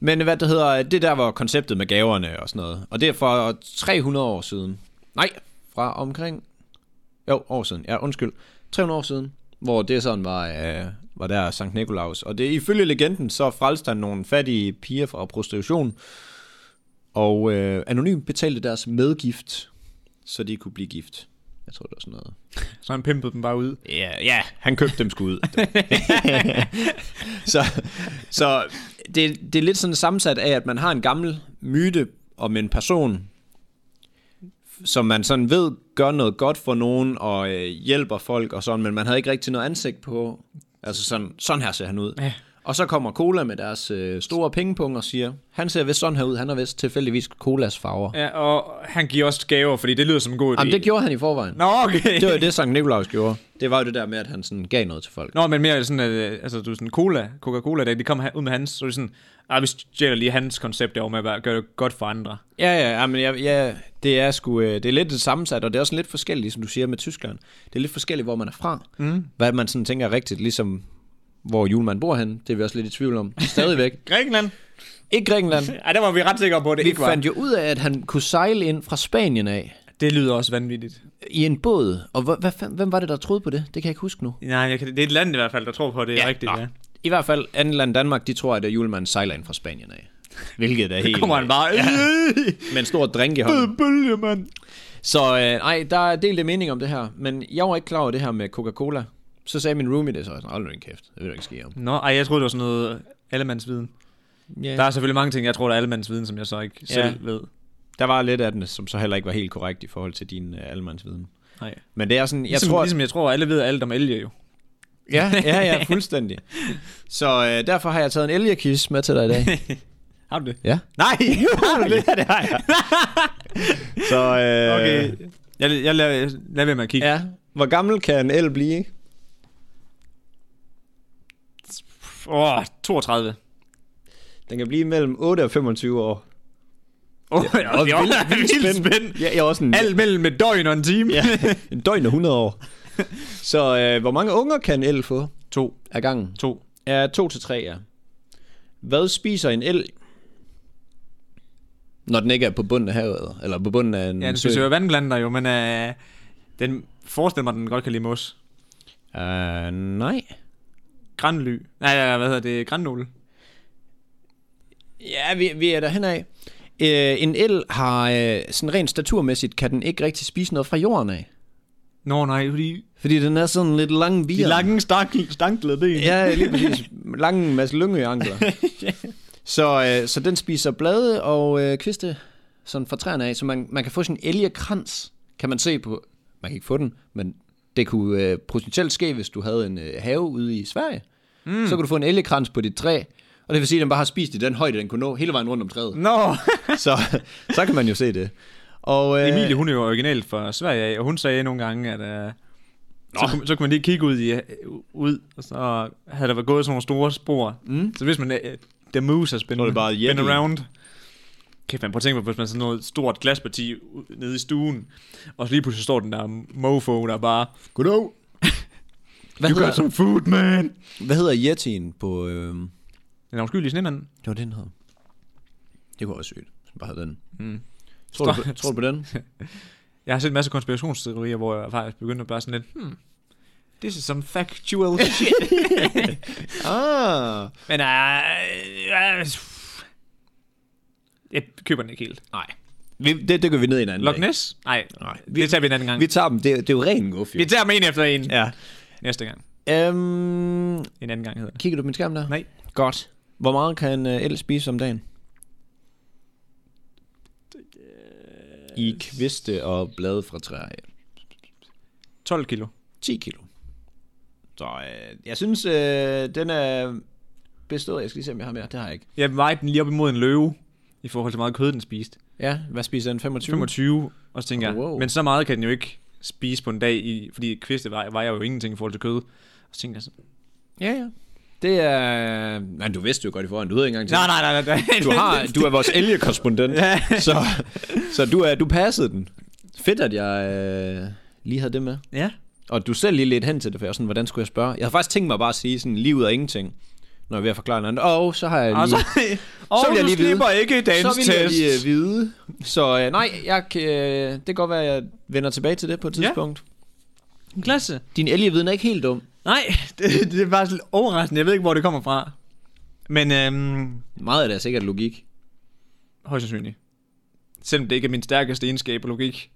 S2: Men hvad det hedder, det er der var konceptet med gaverne og sådan noget. Og det er fra 300 år siden. Nej, fra omkring... Jo, år siden. Ja, undskyld. 300 år siden, hvor det sådan var, øh, var der Sankt Nikolaus. Og det ifølge legenden, så frelste han nogle fattige piger fra prostitution. Og øh, anonymt betalte deres medgift, så de kunne blive gift. Jeg tror, det var sådan noget.
S1: Så han pimpede dem bare ud.
S2: Ja, ja, han købte dem sgu ud. så så det, det er lidt sådan sammensat af, at man har en gammel myte om en person, som man sådan ved gør noget godt for nogen og øh, hjælper folk og sådan, men man havde ikke rigtig noget ansigt på. Altså sådan, sådan her ser han ud.
S1: Ja.
S2: Og så kommer Cola med deres øh, store pengepunkt og siger, han ser vist sådan her ud, han har vist tilfældigvis Colas farver.
S1: Ja, og han giver også gaver, fordi det lyder som en god idé.
S2: Jamen det gjorde han i forvejen.
S1: Nå, okay.
S2: *laughs* Det var jo det, Sankt Nikolaus gjorde. Det var jo det der med, at han sådan gav noget til folk.
S1: Nå, men mere sådan, at, øh, altså, du er sådan cola, Coca-Cola, da de kom ha- ud med hans, så er det sådan, ah, vi stjæler lige hans koncept derovre med at bare gøre det godt for andre.
S2: Ja, ja, ja, men jeg, ja, det er sgu, øh, det er lidt det sammensat, og det er også lidt forskelligt, som du siger med Tyskland. Det er lidt forskelligt, hvor man er fra. Mm. Hvad man sådan tænker er rigtigt, ligesom hvor julemanden bor henne, det er vi også lidt i tvivl *laughs* om. Stadigvæk.
S1: Grækenland?
S2: Ikke *laughs* Grækenland.
S1: Ej, der var vi ret sikre på, at det
S2: Vi
S1: ikke var.
S2: fandt jo ud af, at han kunne sejle ind fra Spanien af
S1: Det lyder også vanvittigt.
S2: i en båd. Og hvad, hvad, fanden- hvem var det, der troede på det? Det kan jeg ikke huske nu.
S1: Nej, jeg kan, det er et land i hvert fald, der tror på, at det er ja, rigtigt.
S2: nå.
S1: Ja.
S2: I hvert fald andet land Danmark, de tror, at øh, julemanden sejler ind fra Spanien af. Hvilket er helt...
S1: Kommer han bare, Øh! ja.
S2: Med en stor drink i hånden.
S1: bølge, mand.
S2: Så øh, nej, der er delte mening om det her, men jeg var ikke klar over det her med Coca-Cola. Så sagde min roomie det, så jeg sådan, hold nu din kæft, det vil du ikke ske om.
S1: Nå, ej, jeg troede, det var sådan noget allemandsviden.
S2: Yeah.
S1: Der
S2: Der,
S1: er selvfølgelig mange ting, jeg tror, der er allemandsviden, som jeg så ikke
S2: Ja.
S1: selv ved.
S2: der var lidt af den, som så heller ikke var helt korrekt i forhold til din øh, almandsviden.
S1: Nej.
S2: Men det er sådan, jeg
S1: Ligesom,
S2: tror...
S1: ligesom jeg tror, alle ved alt om elge jo.
S2: Ja, ja, ja, fuldstændig. så øh, derfor har jeg taget en elgekis med til dig i
S1: *laughs*
S2: dag.
S1: Har du det?
S2: ja. *laughs*
S1: Nej, har du det?
S2: det har jeg. så øh,
S1: Okay. Jeg, jeg lader, lad være med at kigge.
S2: ja. Hvor gammel kan en el blive?
S1: Åh, oh, 32.
S2: Den kan blive mellem 8 og 25 år.
S1: Åh, oh, *laughs* ja, det er
S2: Og
S1: også vildt
S2: spændende.
S1: spændt.
S2: Ja, jeg er også en
S1: Alt mellem et døgn og en time.
S2: Ja, en døgn og 100 *laughs* år. Så øh, hvor mange unger kan en el få?
S1: To.
S2: Af gangen.
S1: To.
S2: Ja, to til tre, ja. Hvad spiser en el? Når den ikke er på bunden af havet, eller på bunden af en
S1: Ja, den
S2: Mm, sø.
S1: spiser jo vandplanter jo, men øh, den forestiller mig, at den godt kan lide mos.
S2: Uh, nej.
S1: Granly. Nej, ja, hvad hedder det? Grannål.
S2: Ja, vi, vi er der henad. Øh, en el har, øh, sådan rent staturmæssigt, kan den ikke rigtig spise noget fra jorden af.
S1: Nå nej, fordi
S2: Fordi den er sådan lidt lang
S1: de
S2: bier.
S1: lange stank- stanklede ben.
S2: Ja, lige præcis. Lange masse lyngøankler. så, øh, så den spiser blade og øh, kviste sådan fra træerne af, så man, man kan få sådan en elgekrans, kan man se på. Man kan ikke få den, men det kunne øh, potentielt ske, hvis du havde en øh, have ude i Sverige. Mm. Så kunne du få en elgekrans på dit træ, og det vil sige, at den bare har spist i den højde, den kunne nå hele vejen rundt om træet.
S1: Nå,
S2: så, så kan man jo se det. Og,
S1: *laughs*
S2: øh,
S1: Emilie, hun er jo originalt fra Sverige af, og hun sagde nogle gange, at øh, så, kunne, så kunne man lige kigge ud, i, øh, ud og så havde der været gået sådan nogle store spor. Mm. Så hvis man, øh, the moose er
S2: Så er
S1: spændende,
S2: det bare
S1: been
S2: Yeti.
S1: around. Kæft, man prøver at tænke på, hvis man sådan noget stort glasparti u- nede i stuen, og så lige pludselig står den der mofo, der bare,
S2: Goddag. Hvad
S1: you got
S2: hedder,
S1: some food, man.
S2: hvad hedder yetien på... Øh,
S1: Den er uskyldig snemanden.
S2: Det var det, den hed. Det kunne også sygt, hvis man bare havde den.
S1: Mm.
S2: Tror, du, på- tror du på *laughs* den?
S1: Jeg har set en masse konspirationsteorier, hvor jeg faktisk begyndte at bare sådan lidt, hmm, this is some
S2: *laughs*
S1: factual shit.
S2: ah,
S1: Men øh, øh, jeg køber den ikke helt.
S2: nej. Vi, det dykker vi ned i en anden
S1: Loch
S2: dag.
S1: Ness? Nej,
S2: Nej. Vi,
S1: det tager vi en anden gang.
S2: vi
S1: Vi,
S2: tager dem. Det, det er jo ren guf, jo.
S1: tager dem en efter en
S2: Ja.
S1: næste gang.
S2: Øhm,
S1: En anden gang hedder det.
S2: kigger du på min skærm der?
S1: Nej.
S2: Godt. Hvor meget kan uh, el spise om dagen? I kviste og blade fra træer.
S1: 12 kilo.
S2: 10 kilo. Så øh, jeg synes, øh, den er bestået. Jeg skal lige se, om jeg har mere. Det har jeg ikke.
S1: Jeg vejede den lige op imod en løve, i forhold til hvor meget kød den spiste.
S2: Ja, hvad spiser den? 25?
S1: 25, og så tænker jeg,
S2: Mm. Wow.
S1: men så meget kan den jo ikke spise på en dag, i, fordi kviste vejer, vejer jo ingenting i forhold til kød. Og så tænker jeg sådan,
S2: Ja, ja. Det er... Nej, du vidste jo godt i forhånd. Du ved ikke engang til.
S1: nej, nej, nej, nej.
S2: Du, *laughs* har, du er vores
S1: *laughs*
S2: elgekorrespondent. ja. Så, så du, er, du passede den. Fedt, at jeg øh, lige havde det med.
S1: Ja.
S2: Og du selv lige lidt hen til det, for jeg var sådan, hvordan skulle jeg spørge? Jeg har faktisk tænkt mig bare at sige sådan, livet er ingenting, når jeg er ved at forklare noget. Og så har jeg lige...
S1: Altså, og
S2: vil jeg
S1: du
S2: lige vide.
S1: slipper ikke
S2: så
S1: dansk
S2: vil jeg
S1: test.
S2: lige øh, vide. Så øh, nej, jeg, kan, øh, det kan godt være, at jeg vender tilbage til det på et
S1: Ja.
S2: tidspunkt. Ja.
S1: Klasse.
S2: Din elgeviden er ikke helt dum.
S1: Nej, *laughs* det, det er bare lidt overraskende. Jeg ved ikke, hvor det kommer fra. Men øhm,
S2: Meget af det er sikkert logik.
S1: højst sandsynligt. Selvom det ikke er min stærkeste egenskab og logik.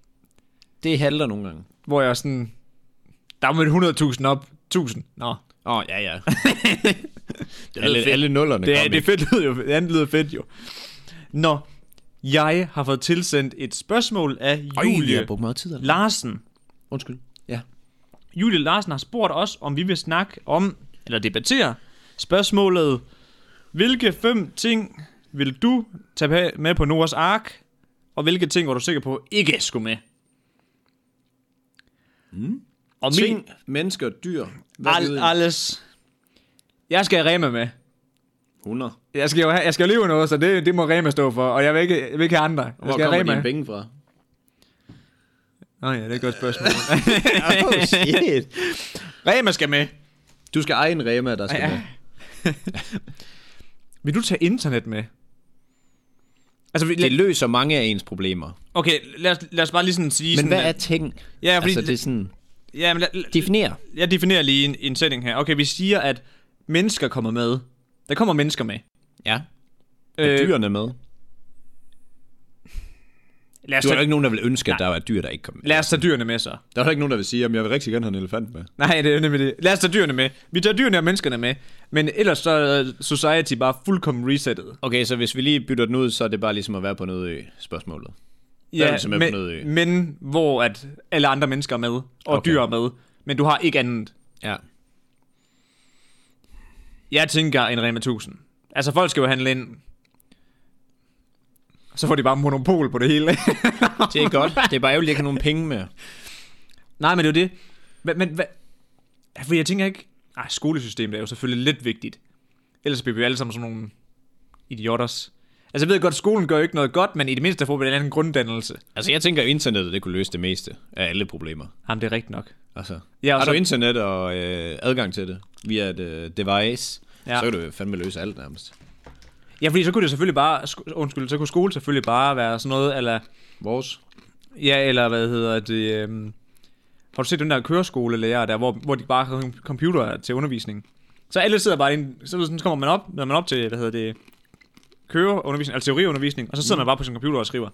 S2: Det halter nogle gange.
S1: Hvor jeg er sådan... Der er med 100.000 op. 1000. Nå.
S2: Åh, oh, ja, *laughs* ja.
S1: Det
S2: alle, alle nullerne
S1: Det,
S2: kom
S1: er, det er
S2: ikke.
S1: fedt lyder jo. Det andet lyder fedt jo. Nå. Jeg har fået tilsendt et spørgsmål af
S2: Øj, vi
S1: Julie
S2: har brugt meget tid. eller?
S1: Larsen.
S2: Undskyld. Ja.
S1: Julie Larsen har spurgt os, om vi vil snakke om, eller debattere, spørgsmålet, hvilke fem ting vil du tage pa- med på Noras Ark, og hvilke ting var du sikker på ikke skulle med? Mm. Og min,
S2: Ting, mennesker, dyr. Hvad ved
S1: al,
S2: jeg?
S1: alles, jeg skal have Rema med.
S2: 100.
S1: Jeg skal jo have, jeg skal leve noget, så det, det må Rema stå for, og jeg vil ikke, jeg vil ikke have andre. Jeg
S2: Hvor
S1: skal have
S2: kommer
S1: Rema.
S2: dine penge fra?
S1: Nå ja, det er et godt spørgsmål.
S2: *laughs* oh, shit.
S1: Rema skal med.
S2: Du skal eje en Rema, der skal
S1: Ja.
S2: med.
S1: Vil du tage internet med? Altså, vi-
S2: Det løser mange af ens problemer.
S1: Okay, lad os, lad os bare lige sådan sige...
S2: Men
S1: sådan,
S2: hvad er
S1: at-
S2: ting?
S1: Ja, fordi...
S2: Altså, det er sådan...
S1: ja, men lad, lad,
S2: Definer.
S1: jeg definerer lige en, en sætning her. Okay, vi siger, at mennesker kommer med. Der kommer mennesker med.
S2: Ja.
S1: Øh,
S2: Er dyrene med?
S1: lad, os
S2: Du er jo
S1: tage,
S2: ikke nogen, der vil ønske, at der var dyr, der ikke kom med.
S1: altså- lad os tage dyrene med, så.
S2: Der er jo ikke nogen, der vil sige, at jeg vil rigtig gerne have en elefant med.
S1: Nej, det er nemlig det. Lad os tage dyrene med. Vi tager dyrene og menneskerne med. Men ellers så er society bare fuldkommen resettet.
S2: Okay, så hvis vi lige bytter den ud, så er det bare ligesom at være på noget ø, spørgsmålet. er vi simpelthen på noget i.
S1: men, men hvor at alle andre mennesker er med, og
S2: Okay.
S1: okay. dyr er med. Men du har ikke andet.
S2: Ja.
S1: Jeg tænker en Rema 1000. Altså, folk skal jo handle ind. Så får de bare monopol på det hele.
S2: Det er godt. Det er bare ærgerligt, at jeg ikke har nogen penge med.
S1: Nej, men det er jo det. Men, men hvad? Ja, For jeg tænker ikke... Ej, skolesystemet er jo selvfølgelig lidt vigtigt. Ellers bliver vi jo alle sammen sådan nogle idioters. Altså, jeg ved godt, skolen gør jo ikke noget godt, men i det mindste får vi en eller anden grunddannelse.
S2: Altså, jeg tænker, at internettet det kunne løse det meste af alle problemer.
S1: Jamen, det er rigtigt nok.
S2: Altså,
S1: Ja,
S2: ja,
S1: og
S2: har
S1: så-
S2: du internet og øh, adgang til det via et øh, device,
S1: Ja.
S2: ja. så kan du jo fandme løse alt nærmest.
S1: Ja, fordi så kunne det selvfølgelig bare... sk- Undskyld, så kunne skole selvfølgelig bare være sådan noget, eller...
S2: Vores.
S1: Ja, eller hvad hedder det... Øhm, har du set den der køreskolelærer der, hvor, hvor de bare har en computer til undervisning? Så alle sidder bare ind, så, sådan, så kommer man op, når man op til, hvad hedder det, køreundervisning, altså teoriundervisning, og så sidder mm. man bare på sin computer og skriver,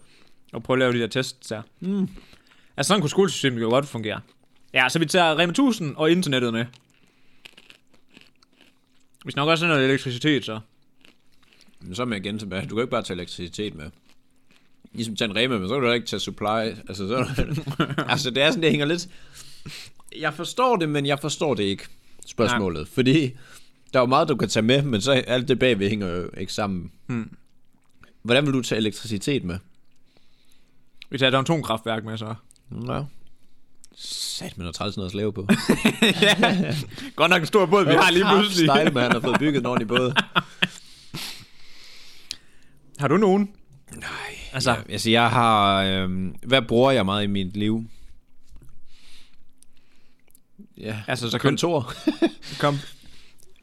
S1: og prøver at lave de der tests der. Mm. Altså sådan kunne skolesystemet jo godt fungere. Ja, så vi tager Rema 1000 og internettet med. Vi snakker også noget elektricitet, så.
S2: Men så er jeg igen tilbage. Du kan jo ikke bare tage elektricitet med. Ligesom tage en rema med, så kan du heller ikke tage supply. Altså, så, *laughs* altså det er sådan, det hænger lidt... Jeg forstår det, men jeg forstår det ikke, spørgsmålet. Nej. Fordi der er jo meget, du kan tage med, men så alt det bagved hænger jo ikke sammen. Hmm. Hvordan vil du tage elektricitet med?
S1: Vi tager et atomkraftværk med, så.
S2: Nå. Sat med noget træls noget at
S1: *laughs*
S2: slave på.
S1: Godt nok en stor båd, vi har lige pludselig.
S2: Stejle, man, han har fået bygget en ordentlig båd.
S1: Har du nogen? Altså-
S2: *laughs* Altså, ja, altså jeg har... Øh, hvad bruger jeg meget i mit liv? Ja,
S1: Altså, så kun-
S2: kontor.
S1: Kom.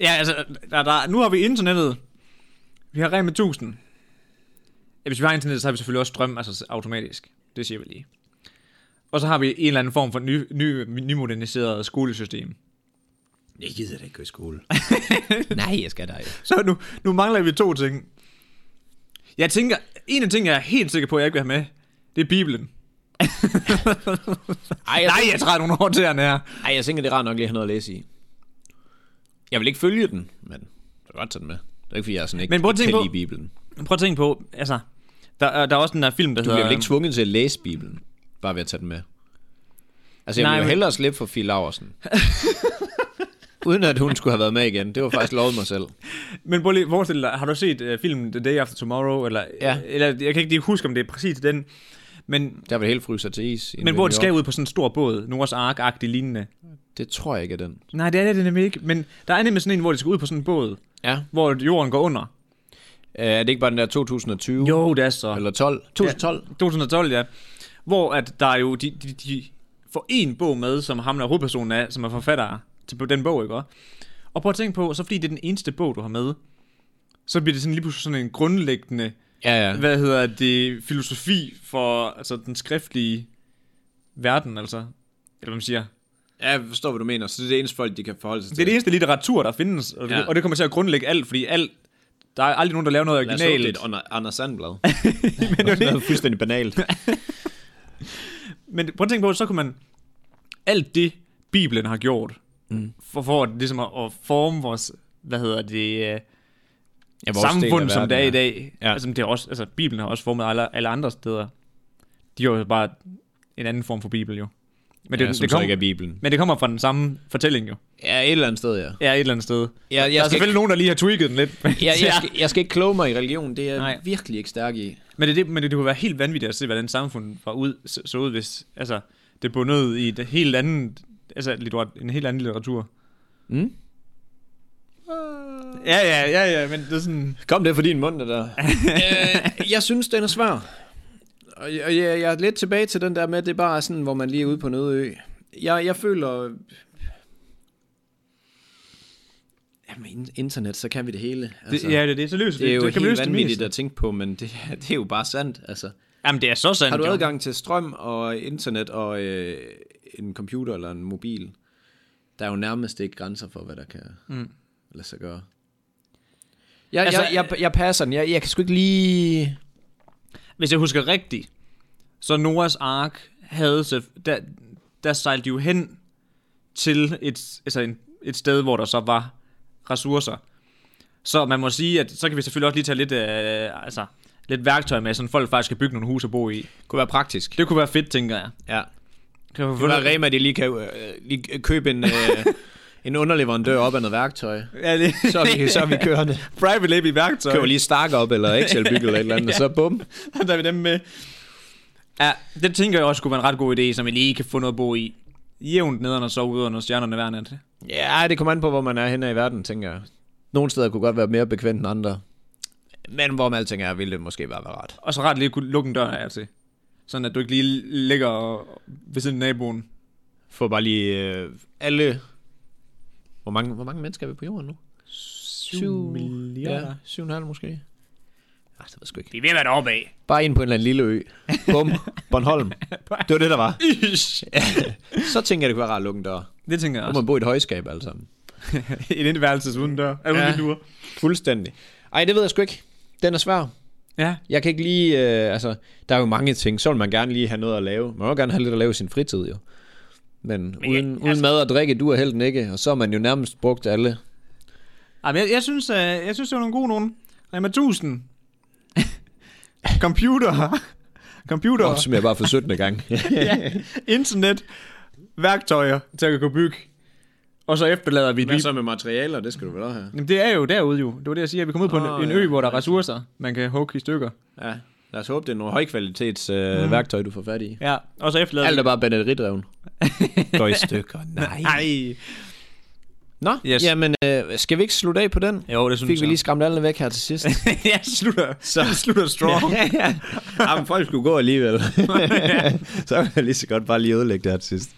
S1: Ja, altså, der, der, nu har vi internettet. Vi har Rema 1000. Ja, hvis vi har internettet, så har vi selvfølgelig også strøm, altså automatisk. Det siger vi lige. Og så har vi en eller anden form for ny, ny, nymoderniseret skolesystem.
S2: *laughs* jeg gider da ikke gå i *laughs* skole. Nej, jeg skal da ikke.
S1: Så nu, nu mangler vi to ting. Jeg tænker, en af tingene, jeg er helt sikker på, at jeg ikke vil have med, det er Bibelen.
S2: Ej, jeg,
S1: Nej, jeg træder nogle år til her.
S2: Ej, jeg tænker, det er rart nok lige at have noget at læse i. Jeg vil ikke følge den, men jeg kan godt tage den med. Det er ikke, fordi jeg er sådan ikke,
S1: Men prøv at
S2: ikke
S1: tænke
S2: kan
S1: på-
S2: lide Bibelen.
S1: Prøv at tænke på, altså, der, er- der er også den der film, der
S2: Du
S1: hedder...
S2: bliver vel ikke tvunget til at læse Bibelen, bare ved at tage den med. Altså, jeg
S1: Nej,
S2: Nej, ville jo
S1: men-
S2: hellere slippe for Fie Laversen. *laughs* Uden at hun skulle have været med igen. Det var faktisk lovet mig selv.
S1: Men prøv lige, forestil dig, har du set uh, filmen The Day After Tomorrow, eller,
S2: Ja.
S1: eller jeg kan ikke lige huske, om det er præcis den, men,
S2: Der vil helt fryse til is. i
S1: men hvor
S2: New
S1: det
S2: York.
S1: skal ud på sådan en stor båd, Noras Ark-agtig lignende.
S2: Det tror jeg ikke er den.
S1: Nej, det er det nemlig ikke, men der er nemlig sådan en, hvor de skal ud på sådan en båd,
S2: Ja.
S1: hvor jorden går under.
S2: Øh, Er det ikke bare den der 2020?
S1: Jo, det er så.
S2: Eller 12? 2012?
S1: 2012, ja. Hvor at der er jo, de, de, de får en bog med, som ham der hovedpersonen er, som er forfatter til den bog, ikke også? Og prøv at tænke på, så fordi det er den eneste bog, du har med, så bliver det sådan lige pludselig sådan en grundlæggende,
S2: Ja, ja.
S1: hvad hedder det, filosofi for altså, den skriftlige verden, altså. Eller hvad man siger.
S2: Ja, jeg forstår, hvad du mener. Så det er det eneste folk, de kan forholde sig
S1: Det er
S2: til.
S1: det eneste litteratur, der findes, og, ja.
S2: Ja.
S1: og det kommer til at grundlægge alt, fordi alt, der er aldrig nogen, der laver noget
S2: Lad os håbe, det
S1: originalt.
S2: er et Under-
S1: *laughs*
S2: Anders Sandblad. Men det er noget fuldstændig banalt.
S1: Men prøv at tænke på, så kunne man alt det, Bibelen har gjort, mm. for, for at, ligesom at, at forme vores, hvad hedder det, øh,
S2: Ja, vores del
S1: *laughs*
S2: af
S1: samfund, som
S2: verden,
S1: det er i
S2: ja.
S1: dag. Ja.
S2: Ja.
S1: Altså, det er også, altså, Bibelen har også formet alle, alle andre steder. De har jo bare en anden form for Bibel, jo. Men det,
S2: ja,
S1: ja,
S2: som
S1: det
S2: så
S1: kom,
S2: ikke er Bibelen.
S1: men det kommer fra den samme fortælling, jo.
S2: Ja, et eller andet sted, ja.
S1: Ja, et eller andet sted. Jeg
S2: Jeg,
S1: der er
S2: jeg, skal,
S1: selvfølgelig
S2: ikke,
S1: nogen, der lige har tweaked den lidt.
S2: jeg, jeg, skal, jeg skal ikke kloge mig i religion. Det er jeg
S1: Nej.
S2: virkelig ikke stærk i.
S1: Men, det, er det, men det, det kunne være helt vanvittigt at se, hvordan samfundet var ud, så, så ud, hvis altså, det bundede i et helt andet, altså litterat, en helt anden litteratur.
S2: Mm?
S1: Ja, ja, ja, ja, men det er sådan...
S2: Kom det fra din mund, det der. *laughs* øh, jeg synes, den er svær. Og jeg, og jeg, jeg er lidt tilbage til den der med, at det er bare sådan, hvor man lige er ude på en øde ø. Jeg, jeg føler... Jamen, in- internet, så kan vi det hele.
S1: Altså, det, ja, det er det. Så løser
S2: det er jo
S1: det kan vi
S2: helt
S1: løse det
S2: vanvittigt
S1: meste.
S2: at tænke på, men det, det er jo bare sandt. Altså,
S1: Jamen, det er så sandt,
S2: har du
S1: jo.
S2: adgang til strøm og internet og øh, en computer eller en mobil, der er jo nærmest ikke grænser for, hvad der kan mm. lade sig gøre. Jeg,
S1: Altså,
S2: altså, jeg, jeg, jeg passer den. Jeg, jeg kan sgu ikke lige...
S1: Hvis jeg husker rigtigt, så Noahs Ark havde... Så, der, der sejlede de jo hen til et, altså en, et sted, hvor der så var ressourcer. Så man må sige, at så kan vi selvfølgelig også lige tage lidt, øh, altså, lidt værktøj med, så folk faktisk kan bygge nogle hus at bo i.
S2: kunne være praktisk.
S1: Det kunne være fedt, tænker jeg.
S2: Ja.
S1: Kan vi
S2: Det kunne være Rema, de lige kan øh, lige købe en, øh, en underleverandør op af noget værktøj.
S1: Ja, det
S2: Så er vi, så *laughs* er vi kørende.
S1: *laughs* private lab i værktøj.
S2: Køber lige Stark op, eller Excel-byg, eller et eller andet, og så bum.
S1: *laughs* der er vi dem med. Ja, det tænker jeg også kunne være en ret god idé, som I lige kan få noget at bo i. Jævnt nederne og sove ude under stjernerne hver nat.
S2: Ja, det kommer an på, hvor man er henne i verden, tænker jeg. Nogle steder kunne godt være mere bekvemt end andre. Men hvorom alting er, ville det måske bare være rart.
S1: Og så ret lige kunne lukke en dør af til. Sådan at du ikke lige ligger og- ved siden af naboen.
S2: Få bare lige øh, alle... Hvor mange, hvor mange mennesker er vi på jorden nu?
S1: 7
S2: Ja, syv og en halv måske. Ej, det ved jeg sgu ikke.
S1: Vi er ved at være deroppe af.
S2: Bare ind på en eller anden lille ø. Bum, Bornholm. Det var det, der var. *laughs* så tænker jeg, det kunne være rart at lukke en dør.
S1: Det tænker jeg
S2: Nu må
S1: også.
S2: man bo i et højskab alle sammen.
S1: *laughs* Et indværelse uden dør. Er
S2: Ja.
S1: uden vinduer.
S2: Fuldstændig. Ej, det ved jeg sgu ikke. Den er svær.
S1: Ja.
S2: Jeg kan ikke lige, øh, altså, der er jo mange ting. Så vil man gerne lige have noget at lave. Man vil jo gerne have lidt at lave i sin fritid, jo. Men, Men uden,
S1: jeg-
S2: altså... uden mad og drikke, du er helten ikke. Og så er man jo nærmest brugt alle.
S1: Ej, men jeg, jeg, synes, øh, jeg synes, det var nogle gode nogen. Rema 1000. *laughs* Computer. Computer.
S2: Nå, som jeg bare for 17. *laughs* gang.
S1: *laughs* ja. Internet, værktøjer til at kunne bygge. Og så efterlader vi det.
S2: med materialer? Det skal du vel også have.
S1: Jamen, det er jo derude jo. Det var det, jeg siger. Vi kommer ud på
S2: Åh,
S1: en, en
S2: ja.
S1: ø, hvor der er ressourcer, man kan hugge i stykker.
S2: Ja. Lad os håbe, det er nogle højkvalitets øh, mm. værktøj, du får fat i.
S1: Ja, og så efterlader
S2: Alt
S1: vi...
S2: er bare *laughs* batteridreven. Går i stykker. Nej.
S1: Ej.
S2: Nå,
S1: Yes.
S2: yes. jamen, øh, skal vi ikke slutte af på den?
S1: Jo, det synes
S2: Fik vi
S1: jeg.
S2: lige skræmt alle væk her til sidst.
S1: *laughs* jeg slutter, så. Jeg slutter strong.
S2: ja, ja. ja, men folk skulle gå alligevel. *laughs* så kan jeg lige så godt bare lige ødelægge det her til sidst.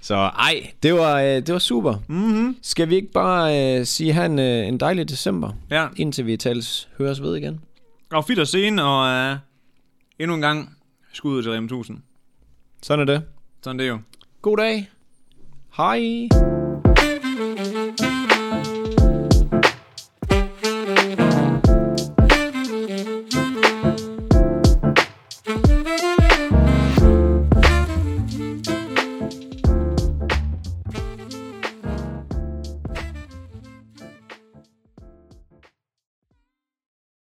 S2: Så ej, det var, øh, det var super.
S1: mm-hmm.
S2: Skal vi ikke bare øh, sige, have en, øh, en dejlig december,
S1: Ja,
S2: indtil vi tales høres ved igen?
S1: og fedt at se ind, og uh, endnu en gang skuddet til Rema 1000.
S2: Sådan er det.
S1: Sådan det er jo.
S2: God dag. Hej.